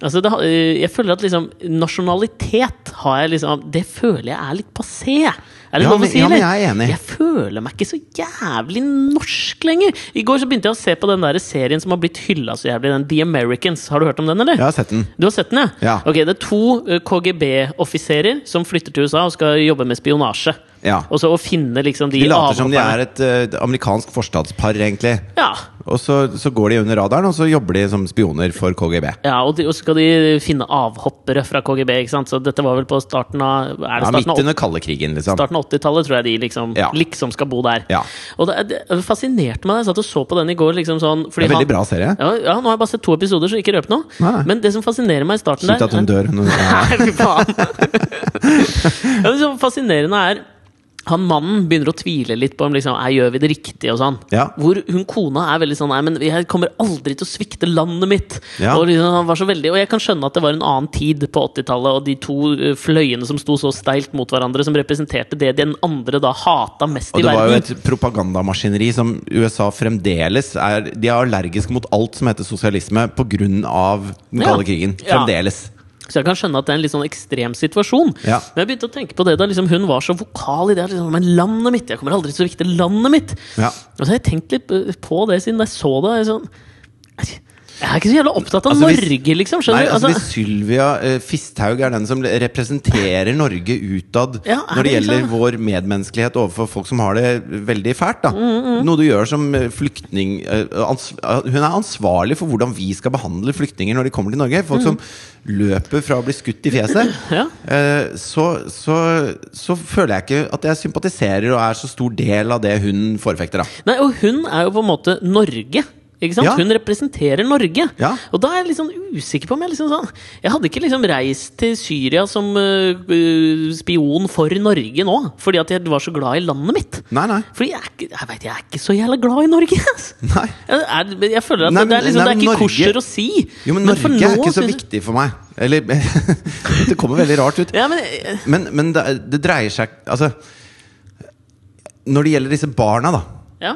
[SPEAKER 2] Altså det, har- eh, jeg føler at liksom nasjonalitet har jeg liksom Det føler jeg er litt passé. Er det
[SPEAKER 1] Ja,
[SPEAKER 2] lov å
[SPEAKER 1] men-
[SPEAKER 2] si,
[SPEAKER 1] ja, men
[SPEAKER 2] eller?
[SPEAKER 1] jeg er enig.
[SPEAKER 2] Jeg føler meg ikke så jævlig norsk lenger. I går så begynte jeg å se på den der serien som har blitt hylla så jævlig, den The Americans. Har du hørt om den, eller?
[SPEAKER 1] Jeg har sett den.
[SPEAKER 2] Du har sett den, ja?
[SPEAKER 1] Ja.
[SPEAKER 2] Ok, Det er to eh, KGB-offiserer som flytter til USA og skal jobbe med spionasje.
[SPEAKER 1] Ja.
[SPEAKER 2] Og så å finne liksom de
[SPEAKER 1] De later som de
[SPEAKER 2] avhopperne.
[SPEAKER 1] er et eh, amerikansk forstadspar, egentlig.
[SPEAKER 2] Ja.
[SPEAKER 1] Og så, så går de under radaren, og så jobber de som spioner for KGB.
[SPEAKER 2] ja, og de- og så skal de finne avhoppere fra KGB, ikke sant? Så dette var vel på starten av Er
[SPEAKER 1] Ja,
[SPEAKER 2] det
[SPEAKER 1] midt
[SPEAKER 2] starten av
[SPEAKER 1] under kalde krigen, liksom.
[SPEAKER 2] Starten av 80-tallet tror jeg de liksom,
[SPEAKER 1] Ja.
[SPEAKER 2] liksom skal bo der.
[SPEAKER 1] Ja.
[SPEAKER 2] Og det, det fascinerte meg da jeg satt og så på den i går. Liksom sånn,
[SPEAKER 1] Det
[SPEAKER 2] fordi
[SPEAKER 1] er veldig
[SPEAKER 2] han-
[SPEAKER 1] bra serie.
[SPEAKER 2] Ja, ja, nå har jeg bare sett to episoder, så ikke røp noe.
[SPEAKER 1] Nei.
[SPEAKER 2] Men det som fascinerer meg i starten
[SPEAKER 1] Slutt
[SPEAKER 2] der
[SPEAKER 1] at hun dør. Hun, ja.
[SPEAKER 2] Nei, fy faen. ja, det som er fascinerende er han mannen begynner å tvile litt på om liksom, «Nei, gjør vi det riktig. og sånn
[SPEAKER 1] Ja.
[SPEAKER 2] Hvor hun kona er veldig sånn Nei, men jeg kommer aldri til å svikte landet mitt.
[SPEAKER 1] Ja.
[SPEAKER 2] Og, liksom, han var så veldig, og jeg kan skjønne at det var en annen tid på 80-tallet, og de to eh, fløyene som sto så steilt mot hverandre, som representerte det den andre da hata mest
[SPEAKER 1] Og
[SPEAKER 2] i
[SPEAKER 1] det var
[SPEAKER 2] verden.
[SPEAKER 1] jo et propagandamaskineri som USA fremdeles er De er allergisk mot alt som heter sosialisme pga. den
[SPEAKER 2] Ja.
[SPEAKER 1] kalde krigen.
[SPEAKER 2] Ja.
[SPEAKER 1] Fremdeles.
[SPEAKER 2] Så jeg kan skjønne at det er en litt sånn ekstrem situasjon.
[SPEAKER 1] Ja.
[SPEAKER 2] Men jeg begynte å tenke på det da liksom hun var så vokal i det. at Liksom, men landet mitt! Jeg kommer aldri til å vikte landet mitt!
[SPEAKER 1] Ja.
[SPEAKER 2] Og så har jeg tenkt litt eh, på det siden jeg så det. Jeg, er sånn, jeg er ikke så jævla opptatt av
[SPEAKER 1] Altså, hvis-
[SPEAKER 2] Norge, liksom.
[SPEAKER 1] Nei,
[SPEAKER 2] Skjønner du?
[SPEAKER 1] altså, hvis
[SPEAKER 2] Altså,
[SPEAKER 1] Sylvia eh, Fisthaug er den som representerer Norge utad
[SPEAKER 2] Ja, er
[SPEAKER 1] når det
[SPEAKER 2] det
[SPEAKER 1] gjelder
[SPEAKER 2] liksom-
[SPEAKER 1] vår medmenneskelighet overfor folk som har det veldig fælt, da.
[SPEAKER 2] Mm,
[SPEAKER 1] Noe du gjør som eh, flyktning eh, ans eh, Hun er ansvarlig for hvordan vi skal behandle flyktninger når de kommer til Norge.
[SPEAKER 2] Mm.
[SPEAKER 1] Folk som løper fra å bli skutt i fjeset.
[SPEAKER 2] Ja.
[SPEAKER 1] Eh, så, så, så føler jeg ikke at jeg sympatiserer og er så stor del av det hun forfekter, da.
[SPEAKER 2] nei, og hun er jo på en måte Norge. Ikke sant?
[SPEAKER 1] Ja.
[SPEAKER 2] Hun representerer Norge.
[SPEAKER 1] Ja.
[SPEAKER 2] Og da er jeg litt sånn usikker på om jeg liksom sånn Jeg hadde ikke liksom reist til Syria som øh, øh, spion for Norge nå, fordi at jeg var så glad i landet mitt.
[SPEAKER 1] Nei, nei.
[SPEAKER 2] Fordi jeg er, ikke, jeg, vet, jeg er ikke så jævla glad i Norge. ass.
[SPEAKER 1] nei.
[SPEAKER 2] Jeg, er, men jeg føler at
[SPEAKER 1] Nei,
[SPEAKER 2] det,
[SPEAKER 1] men-
[SPEAKER 2] er liksom,
[SPEAKER 1] nei,
[SPEAKER 2] det er
[SPEAKER 1] men
[SPEAKER 2] ikke
[SPEAKER 1] Norge-
[SPEAKER 2] korser å si.
[SPEAKER 1] Jo, men,
[SPEAKER 2] Men for
[SPEAKER 1] Norge
[SPEAKER 2] nå
[SPEAKER 1] er ikke så
[SPEAKER 2] synes jeg-
[SPEAKER 1] viktig for meg. Eller Det kommer veldig rart ut.
[SPEAKER 2] Ja, men, eh,
[SPEAKER 1] Men, men det, det dreier seg Altså Når det gjelder disse barna, da.
[SPEAKER 2] ja.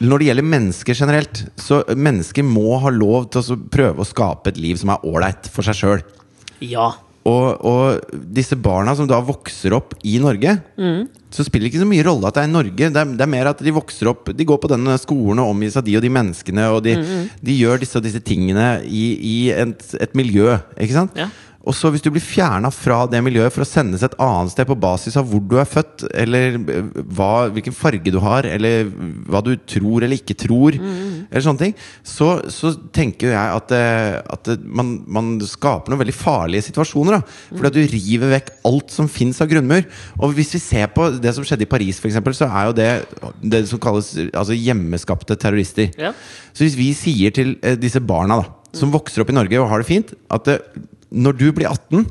[SPEAKER 1] Når det gjelder mennesker generelt, så mennesker må ha lov til å så prøve å skape et liv som er ålreit for seg sjøl.
[SPEAKER 2] ja.
[SPEAKER 1] Og, og disse barna som da vokser opp i Norge, så spiller det ikke så mye rolle at det er i Norge. Det er, det er mer at de vokser opp De går på denne skolen og omgis av de og de menneskene, og de, de gjør disse og disse tingene i, i et, et miljø. Ikke sant?
[SPEAKER 2] Ja.
[SPEAKER 1] Og så hvis du blir fjerna fra det miljøet for å sendes et annet sted på basis av hvor du er født, eller eh, hva, hvilken farge du har, eller hva du tror eller ikke tror, eller sånne ting, så, så tenker jo jeg at, eh, at eh, man, man skaper noen veldig farlige situasjoner. Da, fordi at du river vekk alt som fins av grunnmur. Og hvis vi ser på det som skjedde i Paris, for eksempel, så er jo det det som kalles altså, hjemmeskapte terrorister.
[SPEAKER 2] Ja.
[SPEAKER 1] Så hvis vi sier til eh, disse barna da, som vokser opp i Norge og har det fint, at eh, når du blir 18,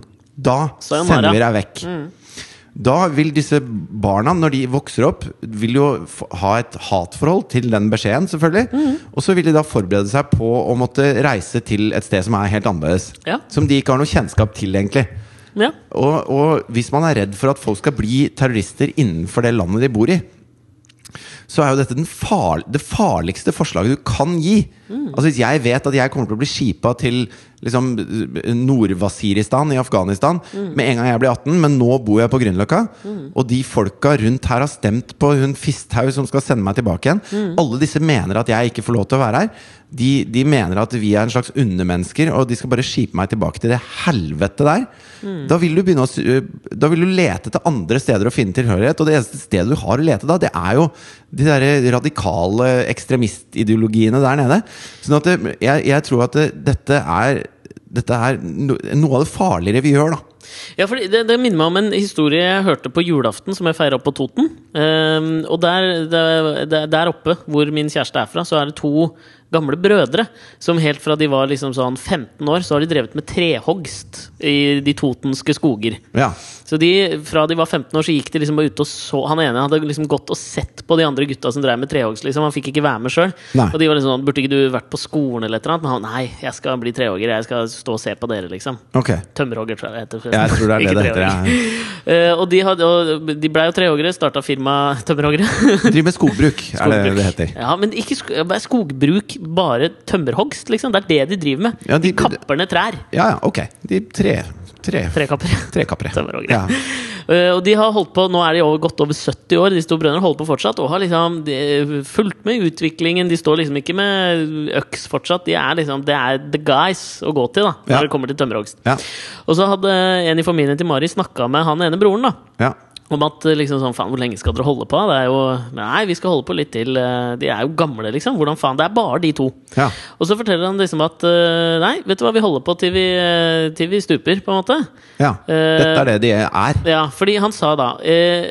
[SPEAKER 1] da
[SPEAKER 2] Sayonara.
[SPEAKER 1] sender vi deg vekk. Da vil disse barna, når de vokser opp, vil jo f- ha et hatforhold til den beskjeden, selvfølgelig. Og så vil de da forberede seg på å måtte reise til et sted som er helt annerledes.
[SPEAKER 2] Ja.
[SPEAKER 1] Som de ikke har noe kjennskap til, egentlig.
[SPEAKER 2] ja.
[SPEAKER 1] Og, og hvis man er redd for at folk skal bli terrorister innenfor det landet de bor i, så er jo dette den far, det farligste forslaget du kan gi. Altså Hvis jeg vet at jeg kommer til å bli skipa til liksom, Nord-Wasiristan i Afghanistan med en gang jeg blir 18, men nå bor jeg på Grünerløkka, og de folka rundt her har stemt på hun Fisthaug som skal sende meg tilbake igjen Alle disse mener at jeg ikke får lov til å være her. De, de mener at vi er en slags undermennesker, og de skal bare skipe meg tilbake til det helvete der. Da, vil du begynne å, s- da vil du lete etter andre steder å finne tilhørighet, og det eneste stedet du har å lete da, det er jo de der radikale ekstremistideologiene der nede. Sånn at det, jeg, jeg tror at det, dette er dette er no, noe av det farligere vi gjør, da.
[SPEAKER 2] Ja, fordi det, det minner meg om en historie jeg hørte på julaften, som jeg feira opp på Toten. Ehm, og der, der, der- der oppe, hvor min kjæreste er fra, så er det to gamle brødre som helt fra de var liksom sånn 15 år, så har de drevet med trehogst i de totenske skoger.
[SPEAKER 1] Ja.
[SPEAKER 2] Så de, fra de var 15 år, så gikk de liksom bare ut og så Han ene hadde liksom gått og sett på de andre gutta som drev med trehogst, liksom. Han fikk ikke være med sjøl.
[SPEAKER 1] Nei.
[SPEAKER 2] Og de var liksom sånn Burde ikke du vært på skolen eller et eller annet? Men han nei, jeg skal bli trehogger, jeg skal stå og se på dere, liksom.
[SPEAKER 1] Ok.
[SPEAKER 2] Tømmerhogger, tror jeg det heter. forresten.
[SPEAKER 1] Jeg tror det er det
[SPEAKER 2] Ikke
[SPEAKER 1] det heter.
[SPEAKER 2] trehogger.
[SPEAKER 1] Ja.
[SPEAKER 2] Eh, og de, hadde, og de ble jo trehoggere, starta firma tømmerhoggere.
[SPEAKER 1] Driver med skogbruk, er det det
[SPEAKER 2] Skogbruk.
[SPEAKER 1] heter.
[SPEAKER 2] Ja, men ikke sk bare skogbruk bare tømmerhogst, liksom. Det er det de driver med.
[SPEAKER 1] Ja,
[SPEAKER 2] de,
[SPEAKER 1] de-
[SPEAKER 2] kapper ned trær.
[SPEAKER 1] Ja, ja, ok. De tre, tre,
[SPEAKER 2] Trekapper.
[SPEAKER 1] Trekappere.
[SPEAKER 2] Tømmer og
[SPEAKER 1] Ja.
[SPEAKER 2] greier. Eh, og de har holdt på, Nå er de over, godt over 70 år, de to brødrene holder på fortsatt. Og har liksom de, fulgt med utviklingen. De står liksom ikke med øks fortsatt. De er liksom, Det er the guys å gå til da når
[SPEAKER 1] Ja.
[SPEAKER 2] det kommer til tømmerhogst.
[SPEAKER 1] Ja.
[SPEAKER 2] Og så hadde en i familien til Mari snakka med han ene broren. da
[SPEAKER 1] ja.
[SPEAKER 2] om at eh, liksom sånn, faen, hvor lenge skal dere holde på? Det er jo, nei, vi skal holde på litt til. eh, De er jo gamle, liksom. Hvordan faen? Det er bare de to.
[SPEAKER 1] Ja.
[SPEAKER 2] Og så forteller han liksom at eh, nei, vet du hva, vi holder på til vi, eh, til vi stuper, på en måte.
[SPEAKER 1] ja.
[SPEAKER 2] Eh,
[SPEAKER 1] Dette er det de er.
[SPEAKER 2] Ja, fordi han sa da eh,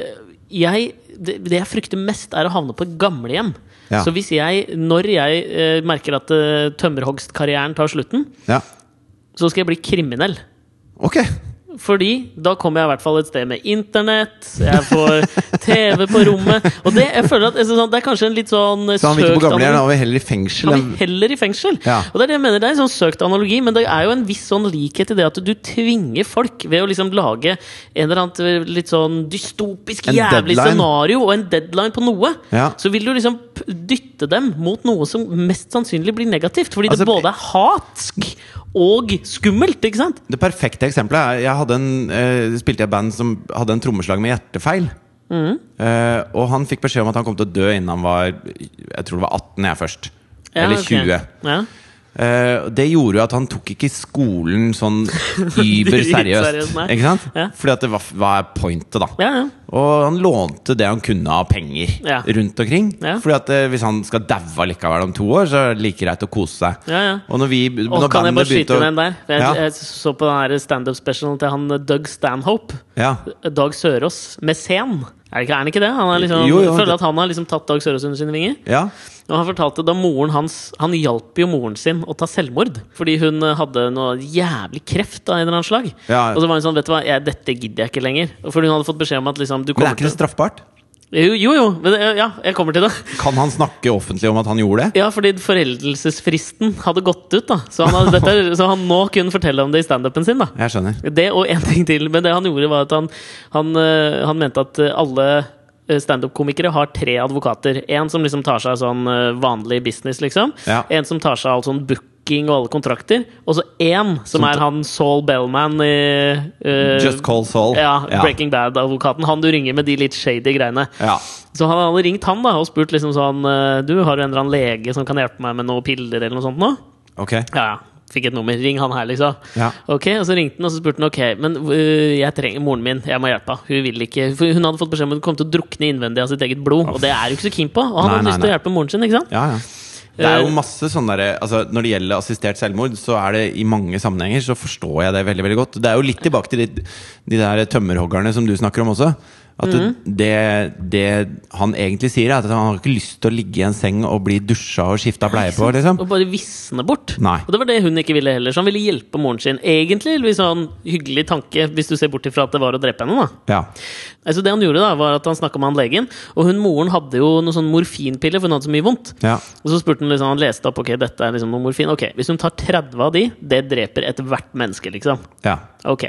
[SPEAKER 2] jeg, det, det jeg frykter mest, er å havne på et gamlehjem.
[SPEAKER 1] Ja.
[SPEAKER 2] Så hvis jeg, når jeg eh, merker at eh, tømmerhogstkarrieren tar slutten,
[SPEAKER 1] Ja.
[SPEAKER 2] så skal jeg bli kriminell.
[SPEAKER 1] Ok.
[SPEAKER 2] Fordi da kommer jeg i hvert fall et sted med internett, jeg får TV på rommet Og det, jeg føler at altså, sånn, det er kanskje en litt sånn eh,
[SPEAKER 1] Så han vil ikke på
[SPEAKER 2] søkt
[SPEAKER 1] gamlehjem,
[SPEAKER 2] analogi.
[SPEAKER 1] han vil heller i fengsel.
[SPEAKER 2] Han
[SPEAKER 1] enn-
[SPEAKER 2] vil heller i fengsel.
[SPEAKER 1] Ja.
[SPEAKER 2] Og det er det jeg mener, det er en sånn søkt analogi, men det er jo en viss sånn likhet i det at du tvinger folk ved å liksom lage en eller annet litt sånn dystopisk
[SPEAKER 1] En
[SPEAKER 2] jævlig
[SPEAKER 1] deadline.
[SPEAKER 2] scenario og en deadline på noe.
[SPEAKER 1] Ja.
[SPEAKER 2] Så vil du liksom p- dytte dem mot noe som mest sannsynlig blir negativt. Fordi
[SPEAKER 1] Altså,
[SPEAKER 2] det både er hatsk og skummelt, ikke sant?
[SPEAKER 1] Det perfekte eksempelet er Jeg hadde en, eh, spilte i et band som hadde en trommeslag med hjertefeil.
[SPEAKER 2] Mm.
[SPEAKER 1] Eh, og han fikk beskjed om at han kom til å dø innen han var Jeg tror det var 18 jeg først.
[SPEAKER 2] Ja,
[SPEAKER 1] Eller
[SPEAKER 2] ok.
[SPEAKER 1] 20.
[SPEAKER 2] Ja.
[SPEAKER 1] Eh, og det gjorde jo at han tok ikke skolen sånn yber
[SPEAKER 2] Dritseriøst,
[SPEAKER 1] seriøst.
[SPEAKER 2] nei.
[SPEAKER 1] ikke sant?
[SPEAKER 2] Ja.
[SPEAKER 1] Fordi at det var, hva er pointet, da?
[SPEAKER 2] Ja, ja.
[SPEAKER 1] Og han lånte det han kunne av penger
[SPEAKER 2] Ja.
[SPEAKER 1] rundt omkring.
[SPEAKER 2] Ja.
[SPEAKER 1] Fordi at eh, hvis han skal daue likevel om to år, så er det like greit å kose seg.
[SPEAKER 2] Ja, ja.
[SPEAKER 1] Og når vi
[SPEAKER 2] Og
[SPEAKER 1] når
[SPEAKER 2] kan jeg
[SPEAKER 1] bandet
[SPEAKER 2] bare skyte
[SPEAKER 1] begynte å-
[SPEAKER 2] inn en der? Jeg,
[SPEAKER 1] Ja.
[SPEAKER 2] jeg så på den her standup-specialen til han eh, Doug Stanhope.
[SPEAKER 1] Ja.
[SPEAKER 2] Dag Sørås med scen. Er, det ikke- er han ikke det? Han er liksom,
[SPEAKER 1] Jo, jo,
[SPEAKER 2] jeg føler at
[SPEAKER 1] det-
[SPEAKER 2] han har liksom tatt Dag Sørås under sine vinger.
[SPEAKER 1] ja.
[SPEAKER 2] Og han fortalte da moren hans Han hjalp jo moren sin å ta selvmord. Fordi hun eh, hadde noe jævlig kreft av en eller annen slag.
[SPEAKER 1] Ja.
[SPEAKER 2] Og så var hun sånn, vet du hva, jeg, dette gidder jeg ikke lenger. Fordi hun hadde fått beskjed om at liksom, du
[SPEAKER 1] Men det
[SPEAKER 2] kommer
[SPEAKER 1] er ikke
[SPEAKER 2] til
[SPEAKER 1] det straffbart?
[SPEAKER 2] Jo, jo, jo men, det- ja, jeg kommer til det.
[SPEAKER 1] Kan han snakke offentlig om at han gjorde det?
[SPEAKER 2] Ja, fordi foreldelsesfristen hadde gått ut, da. Så han, hadde, dette, så han nå kunne fortelle om det i standupen sin, da.
[SPEAKER 1] Jeg skjønner.
[SPEAKER 2] Det og en ting til. Men det han gjorde, var at han, han, eh, han mente at eh, alle eh, standup-komikere har tre advokater. En som liksom tar seg av sånn eh, vanlig business, liksom.
[SPEAKER 1] Ja.
[SPEAKER 2] En som tar seg av alt sånn booking og alle kontrakter. Og så én som er han Saul Bellman i eh,
[SPEAKER 1] Just call Saul.
[SPEAKER 2] ja, Breaking Bad-advokaten. Han du ringer med de litt shady greiene.
[SPEAKER 1] Ja.
[SPEAKER 2] Så han hadde ringt han da og spurt liksom sånn eh, Du, har du en eller annen lege som kan hjelpe meg med noen piller eller noe sånt nå?
[SPEAKER 1] Ok.
[SPEAKER 2] Ja, ja. Fikk et nummer. Ring han her, liksom.
[SPEAKER 1] Ja.
[SPEAKER 2] Ok, Og så ringte han og så spurte han Ok, men øh, jeg trenger moren min. Jeg må hjelpe henne. Hun vil ikke For hun hadde fått beskjed om at hun kom til å drukne innvendig av sitt eget blod. Og det er hun ikke så keen på. Og han
[SPEAKER 1] Nei,
[SPEAKER 2] hadde
[SPEAKER 1] nei,
[SPEAKER 2] lyst til å
[SPEAKER 1] nei.
[SPEAKER 2] hjelpe moren sin, ikke sant?
[SPEAKER 1] Ja, ja. Det er jo
[SPEAKER 2] Eh,
[SPEAKER 1] masse sånne der, altså Når det gjelder assistert selvmord, så er det i mange sammenhenger så forstår jeg det veldig veldig godt. Det er jo litt tilbake til de, de der tømmerhoggerne som du snakker om også. At
[SPEAKER 2] Mhm.
[SPEAKER 1] det, det han egentlig sier, er at han har ikke lyst til å ligge i en seng og bli dusja og skifta bleie på. liksom
[SPEAKER 2] Og bare visne bort.
[SPEAKER 1] Nei.
[SPEAKER 2] Og det var det hun ikke ville heller. Så han ville hjelpe moren sin. Egentlig litt sånn hyggelig tanke, hvis du ser bort ifra at det var å drepe henne, da.
[SPEAKER 1] Ja,
[SPEAKER 2] Altså det han gjorde da, var at han snakka med han legen, og hun moren hadde jo noen sånn morfinpiller, for hun hadde så mye vondt.
[SPEAKER 1] ja,
[SPEAKER 2] Og så spurte han liksom, han leste opp ok, dette er liksom noe morfin. Ok, Hvis hun tar 30 av de, det dreper ethvert menneske, liksom.
[SPEAKER 1] ja.
[SPEAKER 2] Ok.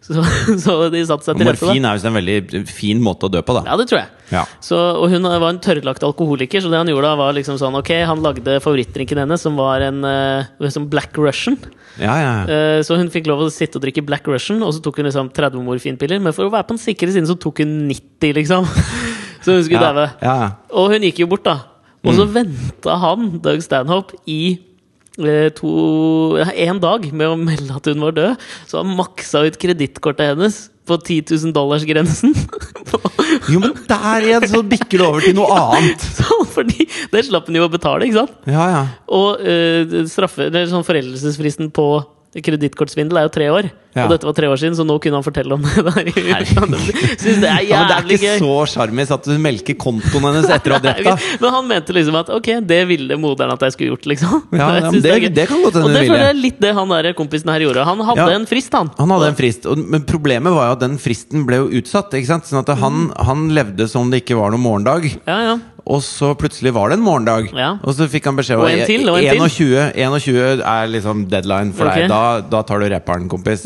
[SPEAKER 2] Så, så de satte seg til rette. da.
[SPEAKER 1] Morfin er jo en veldig fin måte å dø på, da.
[SPEAKER 2] Ja, det tror jeg.
[SPEAKER 1] Ja.
[SPEAKER 2] Så, og hun var en tørrlagt alkoholiker, så det han gjorde da, var liksom sånn Ok, han lagde favorittdrinken hennes, som var en eh, som Black Russian.
[SPEAKER 1] Ja, ja, ja.
[SPEAKER 2] Eh, så hun fikk lov å sitte og drikke Black Russian, og så tok hun liksom 30 morfinpiller. Men for å være på den sikre siden, så tok hun 90, liksom. Så hun skulle
[SPEAKER 1] Ja,
[SPEAKER 2] daue.
[SPEAKER 1] ja, ja.
[SPEAKER 2] Og hun gikk jo bort, da. Og
[SPEAKER 1] Mm.
[SPEAKER 2] så venta han, Doug Stanhope, i eh, to én dag med å melde at hun var død. Så han maksa ut kredittkortet hennes på 10 000 dollars-grensen.
[SPEAKER 1] Jo, men der igjen så bikker det over til noe annet!
[SPEAKER 2] Så- Fordi det slapp hun jo å betale, ikke sant?
[SPEAKER 1] Ja, ja.
[SPEAKER 2] Og eh, straffe, eller sånn foreldelsesfristen på kredittkortsvindel er jo tre år.
[SPEAKER 1] Ja.
[SPEAKER 2] Og dette var tre år siden, så nå kunne han fortelle om det der. Syns det er jævlig
[SPEAKER 1] Ja, men det er ikke
[SPEAKER 2] gøy.
[SPEAKER 1] så sjarmis at du melker kontoen hennes etter å ha drept henne.
[SPEAKER 2] Men han mente liksom at ok, det ville moderen at jeg skulle gjort, liksom. Jeg
[SPEAKER 1] Ja, ja, men
[SPEAKER 2] synes
[SPEAKER 1] det-
[SPEAKER 2] er gøy.
[SPEAKER 1] det kan godt hende
[SPEAKER 2] Og det
[SPEAKER 1] hun ville.
[SPEAKER 2] føler jeg er litt det han der kompisen her gjorde. Han hadde
[SPEAKER 1] Ja.
[SPEAKER 2] en frist, han.
[SPEAKER 1] Han hadde en frist, og- men problemet var jo at den fristen ble jo utsatt. Ikke sant? Sånn at han, han levde som det ikke var noen morgendag.
[SPEAKER 2] Ja, ja.
[SPEAKER 1] Og så plutselig var det en morgendag.
[SPEAKER 2] Ja.
[SPEAKER 1] Og så fikk han beskjed
[SPEAKER 2] Og en til, og en til.
[SPEAKER 1] 21, 21 er liksom deadline for
[SPEAKER 2] Ok. Mm.
[SPEAKER 1] deg. Da, da tar du rapperen, kompis.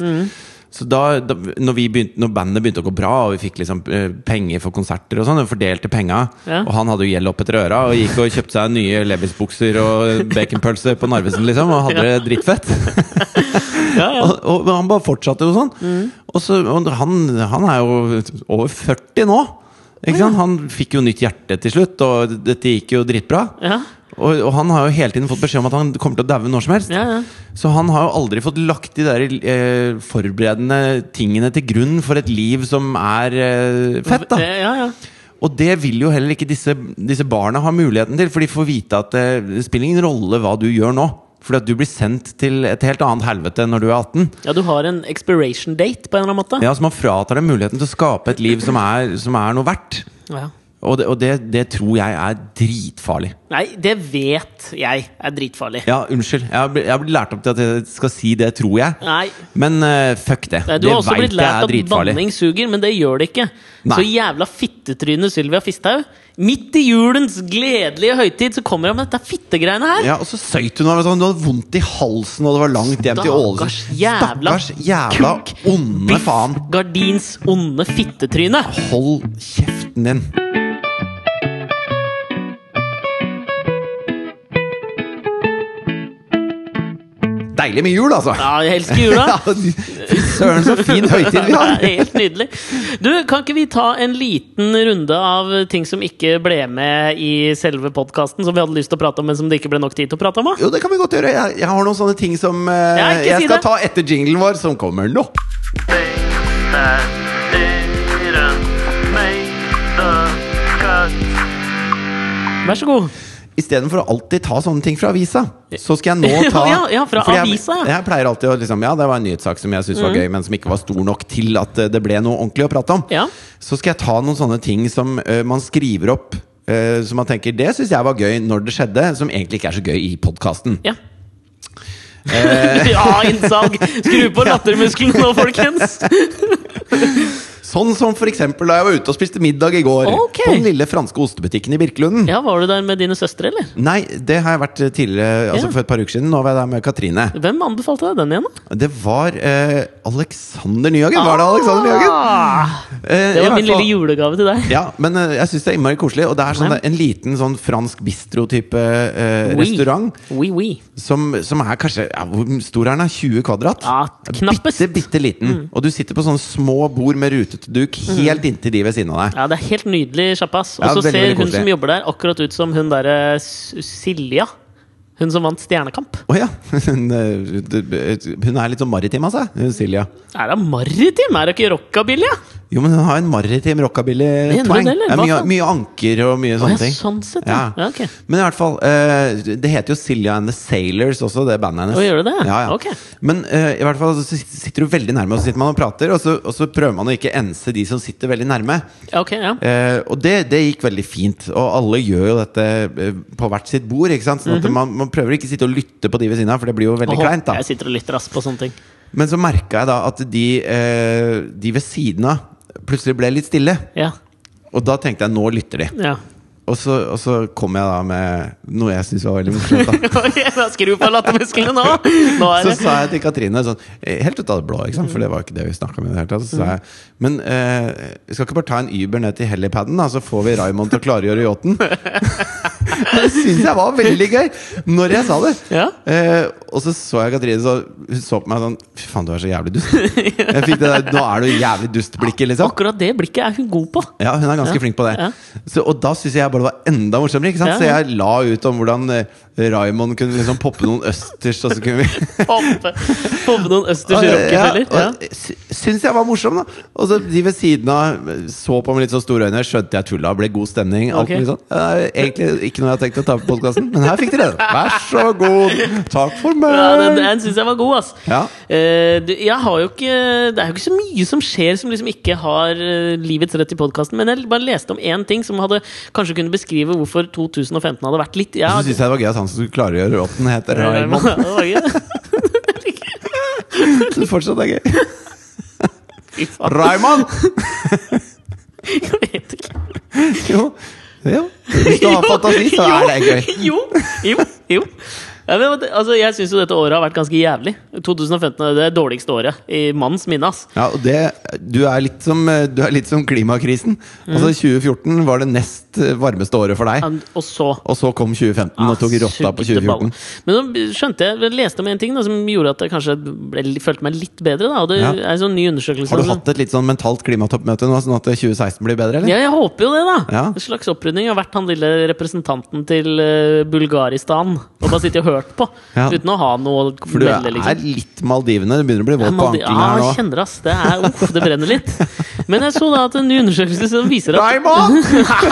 [SPEAKER 1] Så da, da når, vi begynte, når bandet begynte å gå bra, og vi fikk liksom eh, penger for konserter og sånn, og fordelte penga,
[SPEAKER 2] Ja.
[SPEAKER 1] og han hadde jo gjeld opp etter øra, og gikk og kjøpte seg nye Levis-bukser og baconpølse på Narvesen, liksom, og hadde det drittfett.
[SPEAKER 2] Ja, ja. Mm.
[SPEAKER 1] Og, og han bare fortsatte jo sånn. Og, så, og han, han er jo over 40 nå. Ikke sant? Han fikk jo nytt hjerte til slutt, og dette gikk jo dritbra.
[SPEAKER 2] Ja,
[SPEAKER 1] Og, og han har jo hele tiden fått beskjed om at han kommer til å daue når som helst.
[SPEAKER 2] ja, ja.
[SPEAKER 1] Så han har jo aldri fått lagt de der eh, forberedende tingene til grunn for et liv som er eh, fett, da.
[SPEAKER 2] Ja, ja.
[SPEAKER 1] Og det vil jo heller ikke disse, disse barna ha muligheten til, for de får vite at eh, det spiller ingen rolle hva du gjør nå. Fordi at du blir sendt til et helt annet helvete når du er 18.
[SPEAKER 2] ja, du har en expiration date, på en eller annen måte.
[SPEAKER 1] Ja, så man fratar dem muligheten til å skape et liv som er, som er noe verdt.
[SPEAKER 2] Ja.
[SPEAKER 1] Og, det, og det, det tror jeg er dritfarlig.
[SPEAKER 2] Nei, det vet jeg er dritfarlig.
[SPEAKER 1] Ja, unnskyld. Jeg har bl- jeg har blitt lært opp til at jeg skal si 'det tror jeg',
[SPEAKER 2] Nei.
[SPEAKER 1] men eh, fuck det.
[SPEAKER 2] Nei, du
[SPEAKER 1] det
[SPEAKER 2] har også
[SPEAKER 1] vet
[SPEAKER 2] blitt
[SPEAKER 1] jeg
[SPEAKER 2] lært
[SPEAKER 1] er
[SPEAKER 2] at
[SPEAKER 1] dritfarlig.
[SPEAKER 2] banning suger, men det gjør det ikke.
[SPEAKER 1] Nei.
[SPEAKER 2] Så jævla fittetryne Sylvia Fisthaug. Midt i julens gledelige høytid så kommer han med dette fittegreiene her!
[SPEAKER 1] Ja, og så søyt hun av at hun hadde vondt i halsen, og det var langt hjem til Ålesund.
[SPEAKER 2] Stakkars jævla
[SPEAKER 1] Stakkars jævla onde faen.
[SPEAKER 2] Gardins onde fittetryne!
[SPEAKER 1] Hold kjeften din. Deilig med jul, altså.
[SPEAKER 2] Ja, jeg elsker jula!
[SPEAKER 1] Ja, Fy søren, så fin høytid vi har!
[SPEAKER 2] Det er Helt nydelig. Du, kan ikke vi ta en liten runde av ting som ikke ble med i selve podkasten, som vi hadde lyst til å prate om, men som det ikke ble nok tid til å prate om? Da?
[SPEAKER 1] Jo, det kan vi godt gjøre. Jeg, jeg har noen sånne ting som eh,
[SPEAKER 2] Ja, ikke
[SPEAKER 1] jeg
[SPEAKER 2] si
[SPEAKER 1] skal
[SPEAKER 2] det.
[SPEAKER 1] ta etter jinglen vår, som kommer nå.
[SPEAKER 3] that didn't make the cut.
[SPEAKER 2] Vær så god.
[SPEAKER 1] Istedenfor å alltid ta sånne ting fra avisa, så skal jeg nå ta
[SPEAKER 2] Ja, ja, fra
[SPEAKER 1] Fordi jeg,
[SPEAKER 2] avisa, Mm. ja.
[SPEAKER 1] Jeg pleier alltid å liksom Ja, det var en nyhetssak som jeg syntes var gøy, men som ikke var stor nok til at eh, det ble noe ordentlig å prate om.
[SPEAKER 2] Ja.
[SPEAKER 1] Så skal jeg ta noen sånne ting som eh, man skriver opp, eh, som man tenker Det syns jeg var gøy når det skjedde, som egentlig ikke er så gøy i podkasten.
[SPEAKER 2] Ja.
[SPEAKER 1] Eh.
[SPEAKER 2] ja, innsalg! Skru på lattermusklene nå, folkens!
[SPEAKER 1] Sånn som for eksempel da jeg var ute og spiste middag i går.
[SPEAKER 2] Ok.
[SPEAKER 1] På den lille franske ostebutikken i Birkelunden.
[SPEAKER 2] Ja, Var du der med dine søstre, eller?
[SPEAKER 1] Nei, det har jeg vært tidligere, altså
[SPEAKER 2] Ja.
[SPEAKER 1] for et par uker siden. Nå var jeg der med Katrine.
[SPEAKER 2] Hvem anbefalte deg den igjen, da?
[SPEAKER 1] Det var eh, Alexander Nyhagen! Var det Alexander Nyhagen?
[SPEAKER 2] Ah,
[SPEAKER 1] Eh,
[SPEAKER 2] det
[SPEAKER 1] i
[SPEAKER 2] var min
[SPEAKER 1] hvert fall-
[SPEAKER 2] lille julegave til deg.
[SPEAKER 1] Ja, men eh, jeg syns det er innmari koselig. Og det er sånn,
[SPEAKER 2] Nei.
[SPEAKER 1] en liten sånn fransk bistro-type eh, restaurant.
[SPEAKER 2] Oui, oui.
[SPEAKER 1] Som, som er kanskje ja, Hvor stor er den? da? 20 kvadrat?
[SPEAKER 2] Ja, knappest. Mm.
[SPEAKER 1] Bitte, bitte liten. Og du sitter på sånne små bord med rutete duk helt inntil de ved siden av deg.
[SPEAKER 2] Ja, det er helt nydelig kjapp, ass. Og
[SPEAKER 1] Ja,
[SPEAKER 2] så
[SPEAKER 1] veldig,
[SPEAKER 2] ser
[SPEAKER 1] veldig
[SPEAKER 2] hun
[SPEAKER 1] koselig.
[SPEAKER 2] som jobber der, akkurat ut som hun derre Silja. Hun som vant Stjernekamp.
[SPEAKER 1] Å ja! Hun, eh, hun er litt sånn maritim av seg, Silja.
[SPEAKER 2] Er hun maritim? Er hun ikke rockabilly? Ja?
[SPEAKER 1] Jo, men hun har en maritim rockabilly
[SPEAKER 2] Mener du
[SPEAKER 1] twang.
[SPEAKER 2] det, eller?
[SPEAKER 1] Ja,
[SPEAKER 2] Hva
[SPEAKER 1] mye,
[SPEAKER 2] faen?
[SPEAKER 1] mye anker og
[SPEAKER 2] Å,
[SPEAKER 1] mye
[SPEAKER 2] ja,
[SPEAKER 1] sånne ting.
[SPEAKER 2] sånn sett, ja. Ja, ok.
[SPEAKER 1] Men i hvert fall, eh, det heter jo Silja and the Sailors også, det bandet hennes.
[SPEAKER 2] Å, gjør det det?
[SPEAKER 1] Ja, ja.
[SPEAKER 2] Ok.
[SPEAKER 1] Men eh, i hvert fall så sit- sitter du veldig nærme, og så sitter man og prater, og så, og så prøver man å ikke ense de som sitter veldig nærme.
[SPEAKER 2] Ja, ok, ja.
[SPEAKER 1] Eh, og det, det gikk veldig fint, og alle gjør jo dette eh, på hvert sitt bord. Ikke sant? Sånn at man, man prøver ikke sitte og lytte på de ved siden av, for det blir jo veldig
[SPEAKER 2] Mhm. Åh,
[SPEAKER 1] kleint. da
[SPEAKER 2] Jeg sitter og lytter ass på sånne ting.
[SPEAKER 1] Men så merka jeg da at de, eh, de ved siden av plutselig ble litt stille.
[SPEAKER 2] Ja,
[SPEAKER 1] Og da tenkte jeg nå lytter de.
[SPEAKER 2] ja.
[SPEAKER 1] Og så, og så kom jeg da med noe jeg syntes var veldig morsomt. da
[SPEAKER 2] Ok, da Skru på lattermusklene nå! Nå er
[SPEAKER 1] Så
[SPEAKER 2] det
[SPEAKER 1] sa jeg til Katrine sånn, eh, helt ut av det blå, ikke sant? for det var ikke det vi snakka om. i det hele tatt Så
[SPEAKER 2] Mm.
[SPEAKER 1] sa jeg men eh, skal ikke bare ta en Uber ned til helipaden, da, så får vi Raymond til å klargjøre yachten? det syns jeg var veldig gøy! Når jeg sa det.
[SPEAKER 2] Ja.
[SPEAKER 1] Eh, og så så jeg Katrine, så hun så på meg sånn Fy faen, du er så jævlig dust. Jeg fikk det der, Nå er du jævlig dust-blikket, liksom.
[SPEAKER 2] Akkurat det blikket er hun god på.
[SPEAKER 1] Ja, hun er ganske
[SPEAKER 2] Ja.
[SPEAKER 1] flink på det.
[SPEAKER 2] Ja.
[SPEAKER 1] Så, og da syns jeg bare det var enda morsommere. Ikke sant?
[SPEAKER 2] Ja,
[SPEAKER 1] Så
[SPEAKER 2] ja.
[SPEAKER 1] jeg la ut om hvordan eh, Raymond kunne liksom poppe noen østers. Og så kunne vi
[SPEAKER 2] Poppe, poppe noen østers i rockefeller. Ja.
[SPEAKER 1] og sy- Syns jeg var morsom, da! Og så de ved siden av så på med litt så store øyne. Skjønte jeg tulla, ble god stemning. Alt
[SPEAKER 2] Ok.
[SPEAKER 1] mulig sånn. Eh, Egentlig ikke noe jeg har tenkt å ta på podkasten, men her fikk dere det. Vær så god! Takk for meg!
[SPEAKER 2] Ja, den, den syns jeg var god, ass.
[SPEAKER 1] Ja.
[SPEAKER 2] Eh, du, jeg har jo ikke, det er jo ikke så mye som skjer som liksom ikke har eh, livets rett i podkasten, men jeg bare leste om én ting som hadde kanskje kunne beskrive hvorfor 2015 hadde vært litt
[SPEAKER 1] Og
[SPEAKER 2] ja,
[SPEAKER 1] så syns jeg det var gøy at han som skulle klargjøre rotten, heter Raymond.
[SPEAKER 2] det var gøy.
[SPEAKER 1] Det fortsatt er gøy.
[SPEAKER 2] Fy faen,
[SPEAKER 1] Raymond!
[SPEAKER 2] jeg vet ikke.
[SPEAKER 1] Jo. jo. Hvis du har fantasi, så er det gøy.
[SPEAKER 2] Jo, jo, jo. Ja, men, altså, jeg syns jo dette året har vært ganske jævlig. 2015 er det dårligste året i manns minne. ass.
[SPEAKER 1] Ja, og det, du, er litt som, du er litt som klimakrisen.
[SPEAKER 2] Mm.
[SPEAKER 1] Altså 2014 var det nest varmeste året for deg.
[SPEAKER 2] Ja, Og så
[SPEAKER 1] Og så kom 2015 og tok rotta på
[SPEAKER 2] Sugde Ah, ball.
[SPEAKER 1] 2014.
[SPEAKER 2] Men nå skjønte jeg, jeg leste om en ting da, som gjorde at jeg kanskje ble, følte meg litt bedre. Da. Og det
[SPEAKER 1] Ja.
[SPEAKER 2] er en sånn ny undersøkelse.
[SPEAKER 1] Har du hatt et litt sånn mentalt klimatoppmøte nå, sånn at 2016 blir bedre, eller?
[SPEAKER 2] Ja, jeg håper jo det, da!
[SPEAKER 1] Ja.
[SPEAKER 2] En slags opprydning. Jeg har vært han lille representanten til eh, Bulgaristan og bare sittet og hørt på.
[SPEAKER 1] Ja.
[SPEAKER 2] Uten å ha noe å
[SPEAKER 1] For du
[SPEAKER 2] melde,
[SPEAKER 1] er litt Maldivene. Det begynner å bli våt på
[SPEAKER 2] Maldi-
[SPEAKER 1] ankelen
[SPEAKER 2] liksom. Ja,
[SPEAKER 1] her
[SPEAKER 2] jeg
[SPEAKER 1] nå.
[SPEAKER 2] Ah, kjenner det, ass. Det er, uff, det brenner litt. Men jeg så da at en ny undersøkelse som viser at
[SPEAKER 1] Raymond!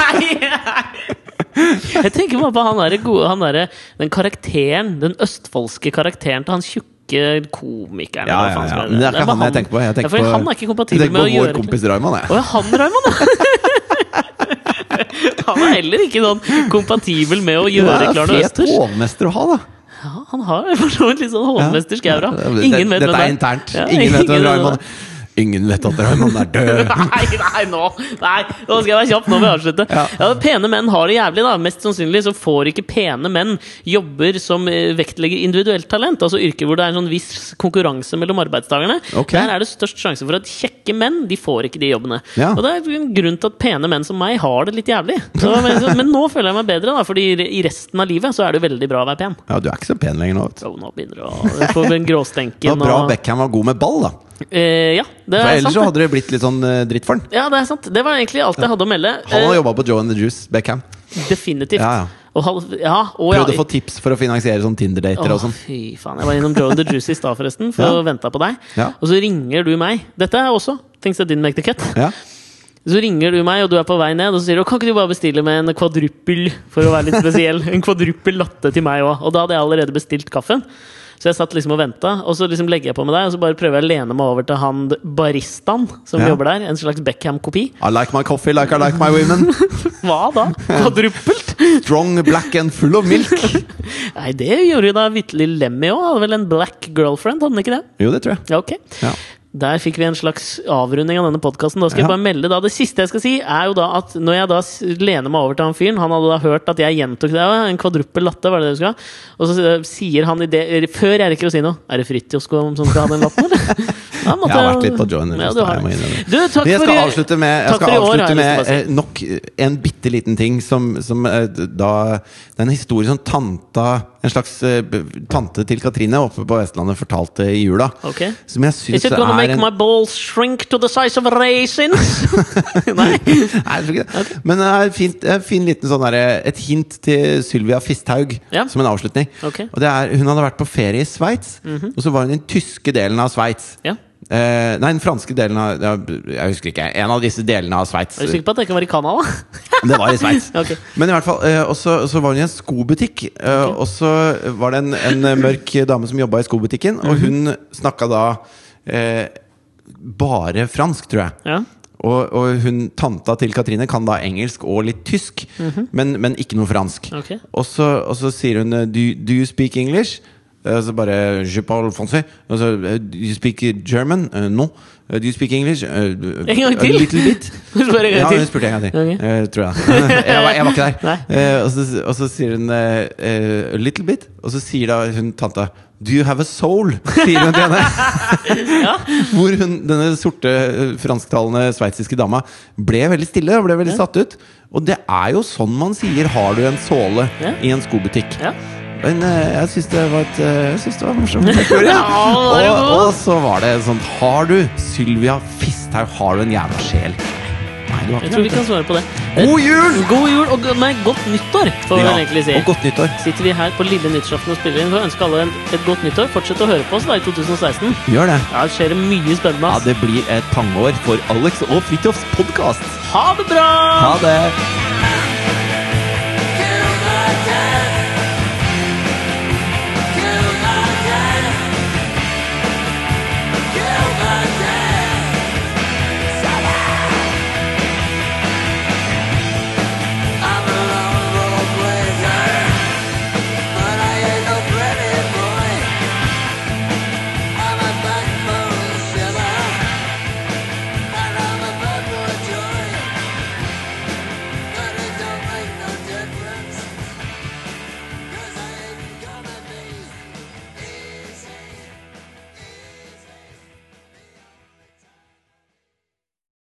[SPEAKER 2] Nei! Jeg tenker bare på han der, gode, han der, den karakteren, den østfoldske karakteren til han tjukke komikeren. eller
[SPEAKER 1] Ja,
[SPEAKER 2] hva
[SPEAKER 1] ja,
[SPEAKER 2] faen som
[SPEAKER 1] ja.
[SPEAKER 2] er bare
[SPEAKER 1] Men det er ikke han jeg tenker på. Jeg tenker
[SPEAKER 2] ja, for
[SPEAKER 1] på-
[SPEAKER 2] han er ikke
[SPEAKER 1] Jeg
[SPEAKER 2] kompatibel
[SPEAKER 1] tenker
[SPEAKER 2] med å
[SPEAKER 1] på vår
[SPEAKER 2] gjøre
[SPEAKER 1] kompis Raymond,
[SPEAKER 2] Å
[SPEAKER 1] jeg.
[SPEAKER 2] ja, han Raymond, ja! Han er heller ikke sånn kompatibel med å
[SPEAKER 1] Det
[SPEAKER 2] gjøre
[SPEAKER 1] er
[SPEAKER 2] Klarne
[SPEAKER 1] fet
[SPEAKER 2] Østers.
[SPEAKER 1] hovmester å ha, da.
[SPEAKER 2] Ja, han har for så vidt litt sånn hovmestersk aura.
[SPEAKER 1] Ja, det-
[SPEAKER 2] Ingen vet hvem
[SPEAKER 1] Dette
[SPEAKER 2] det
[SPEAKER 1] er internt. Ingen vet hvem Raymond Ingen vet at Raymond er død.
[SPEAKER 2] Nei, nei, nå Nei, nå skal jeg være kjapp. Nå må jeg avslutte. Ja.
[SPEAKER 1] Ja.
[SPEAKER 2] pene menn har det jævlig, da. Mest sannsynlig så får ikke pene menn jobber som eh, vektlegger individuelt talent. Altså yrker hvor det er en sånn viss konkurranse mellom arbeidstakerne.
[SPEAKER 1] Ok.
[SPEAKER 2] Der er det størst sjanse for at kjekke menn de får ikke de jobbene.
[SPEAKER 1] Ja.
[SPEAKER 2] Og det er en grunn til at pene menn som meg har det litt jævlig. Så, men, så, men nå føler jeg meg bedre, da, fordi i resten av livet så er det veldig bra å være pen.
[SPEAKER 1] Ja, du er ikke så pen lenger nå, vet du.
[SPEAKER 2] Så nå begynner det å få den
[SPEAKER 1] Det var
[SPEAKER 2] gråstenken
[SPEAKER 1] bra
[SPEAKER 2] og-
[SPEAKER 1] Beckham var god med ball, da.
[SPEAKER 2] Eh, ja, det
[SPEAKER 1] For
[SPEAKER 2] er sant.
[SPEAKER 1] ellers så
[SPEAKER 2] det.
[SPEAKER 1] hadde det blitt litt sånn eh, dritt for han.
[SPEAKER 2] Ja, det er sant. Det var egentlig alt jeg hadde å melde. Eh,
[SPEAKER 1] Han har jobba på Joe and the Juice, Beckham.
[SPEAKER 2] Definitivt.
[SPEAKER 1] Ja, ja.
[SPEAKER 2] Og hal- ja, og ja.
[SPEAKER 1] Prøvde å få tips for å finansiere sånn Tinder-dater og
[SPEAKER 2] Å,
[SPEAKER 1] sånn.
[SPEAKER 2] fy faen. Jeg var innom Joe and the Juice i stad, forresten, for
[SPEAKER 1] Ja.
[SPEAKER 2] å vente på deg.
[SPEAKER 1] Ja.
[SPEAKER 2] Og så ringer du meg. Dette er også Things that didn't make the cut.
[SPEAKER 1] Ja.
[SPEAKER 2] Så ringer du meg, og du er på vei ned, og så sier du Kan ikke du bare bestille med en kvadruppel, for å være litt spesiell? En kvadruppel latte til meg òg. Og da hadde jeg allerede bestilt kaffen. Så jeg satt liksom og venta, og så liksom legger jeg på med deg, og så bare prøver jeg å lene meg over til han baristaen som
[SPEAKER 1] Ja.
[SPEAKER 2] jobber der. En slags Beckham-kopi.
[SPEAKER 1] I like my coffee like I like my women.
[SPEAKER 2] Hva da? Kvadruppelt?
[SPEAKER 1] Strong, black and full of milk.
[SPEAKER 2] Nei, det gjorde jo da vitterlig Lemmy òg. Hadde vel en black girlfriend, hadde han ikke det?
[SPEAKER 1] Jo, det tror jeg.
[SPEAKER 2] Ja, ok.
[SPEAKER 1] Ja.
[SPEAKER 2] Der fikk vi en slags avrunding av denne podkasten. Da skal jeg
[SPEAKER 1] Ja.
[SPEAKER 2] bare melde da. Det siste jeg skal si, er jo da at når jeg da s- lener meg over til han fyren Han hadde da hørt at jeg gjentok det. «Ja, En kvadruppel latte, var det det du skulle ha? Og så eh, sier han i det eller Før jeg rekker å si noe Er det Fritjof som skal ha den latten, eller? Da måtte
[SPEAKER 1] Jeg har vært litt på Joe and the
[SPEAKER 2] Ja, du
[SPEAKER 1] Juice, da,
[SPEAKER 2] har
[SPEAKER 1] jeg må
[SPEAKER 2] det.
[SPEAKER 1] innrømme.
[SPEAKER 2] Du, takk
[SPEAKER 1] Jeg
[SPEAKER 2] for
[SPEAKER 1] skal
[SPEAKER 2] i-
[SPEAKER 1] avslutte med, jeg
[SPEAKER 2] takk for
[SPEAKER 1] skal
[SPEAKER 2] i år, har
[SPEAKER 1] avslutte
[SPEAKER 2] jeg lyst til å
[SPEAKER 1] med
[SPEAKER 2] bare si.
[SPEAKER 1] eh, nok en bitte liten ting som, som eh, da Den historien som tanta En slags eh, b- tante til Katrine oppe på Vestlandet fortalte i jula.
[SPEAKER 2] Ok.
[SPEAKER 1] Som jeg
[SPEAKER 2] Is
[SPEAKER 1] syns
[SPEAKER 2] it
[SPEAKER 1] er
[SPEAKER 2] gonna make
[SPEAKER 1] en
[SPEAKER 2] my balls shrink to the size of raisins? Nei?
[SPEAKER 1] Nei, jeg tror ikke det. Men det er fint, en fin liten sånn derre- et hint til Sylvia Fisthaug
[SPEAKER 2] Ja.
[SPEAKER 1] som en avslutning.
[SPEAKER 2] Ok. Mhm.
[SPEAKER 1] Og det er, hun hadde vært på ferie i Sveits, og så var hun i den tyske delen av Sveits.
[SPEAKER 2] Ja.
[SPEAKER 1] Eh, nei, den franske delen av ja, Jeg husker ikke. En av disse delene av Sveits.
[SPEAKER 2] Er du sikker på at det ikke var i Canada?
[SPEAKER 1] Det var i Sveits.
[SPEAKER 2] Ok.
[SPEAKER 1] Men i hvert fall, eh, og så, og så var hun i en skobutikk. eh, Og så var det en, en eh, mørk dame som jobba i skobutikken,
[SPEAKER 2] Mhm.
[SPEAKER 1] og hun snakka da eh, bare fransk, tror jeg.
[SPEAKER 2] Ja.
[SPEAKER 1] Og, og hun, tanta til Katrine kan da engelsk og litt tysk, men, men ikke noe fransk.
[SPEAKER 2] Mhm. Ok.
[SPEAKER 1] Og, så, og så sier hun eh, do, do you speak English? Eh, så bare Je parle français. Og så eh, Do you speak German? Eh, no. Eh, do you speak English? Eh,
[SPEAKER 2] En gang
[SPEAKER 1] a
[SPEAKER 2] til?
[SPEAKER 1] little bit.
[SPEAKER 2] Spør en gang
[SPEAKER 1] Ja,
[SPEAKER 2] til.
[SPEAKER 1] hun spurte en gang til.
[SPEAKER 2] Ok.
[SPEAKER 1] Eh, tror jeg. jeg, var, jeg var ikke der.
[SPEAKER 2] Nei.
[SPEAKER 1] Eh, og, så, og så sier hun eh, eh, a little bit, og så sier da hun tanta Do you have a soul? sier hun til henne. Hvor hun, denne sorte eh, fransktalende sveitsiske dama ble veldig stille og ble veldig satt ut. Og det er jo sånn man sier 'har du en såle'
[SPEAKER 2] Ja.
[SPEAKER 1] i en skobutikk.
[SPEAKER 2] Ja.
[SPEAKER 1] Men eh, jeg syns det var et eh, Jeg synes det var morsomt. historie.
[SPEAKER 2] Ja, det var jo
[SPEAKER 1] og,
[SPEAKER 2] god.
[SPEAKER 1] og så var det sånn Har du Sylvia Fisthaug, har du en jævla sjel? Nei, du har
[SPEAKER 2] Jeg
[SPEAKER 1] ikke
[SPEAKER 2] tror vi
[SPEAKER 1] det.
[SPEAKER 2] kan svare på det. Eh,
[SPEAKER 1] God jul!
[SPEAKER 2] God jul og go- nei, godt nyttår, får vi vel egentlig si.
[SPEAKER 1] og godt nyttår.
[SPEAKER 2] Sitter vi her på lille nyttårsaften og spiller inn, så ønsker alle en, et godt nyttår. Fortsett å høre på oss da i 2016.
[SPEAKER 1] Gjør det.
[SPEAKER 2] Ja, det skjer det mye spennende.
[SPEAKER 1] Ja,
[SPEAKER 2] ass.
[SPEAKER 1] det blir et pangår for Alex og Fridtjofs podkast.
[SPEAKER 2] Ha det bra!
[SPEAKER 1] Ha det!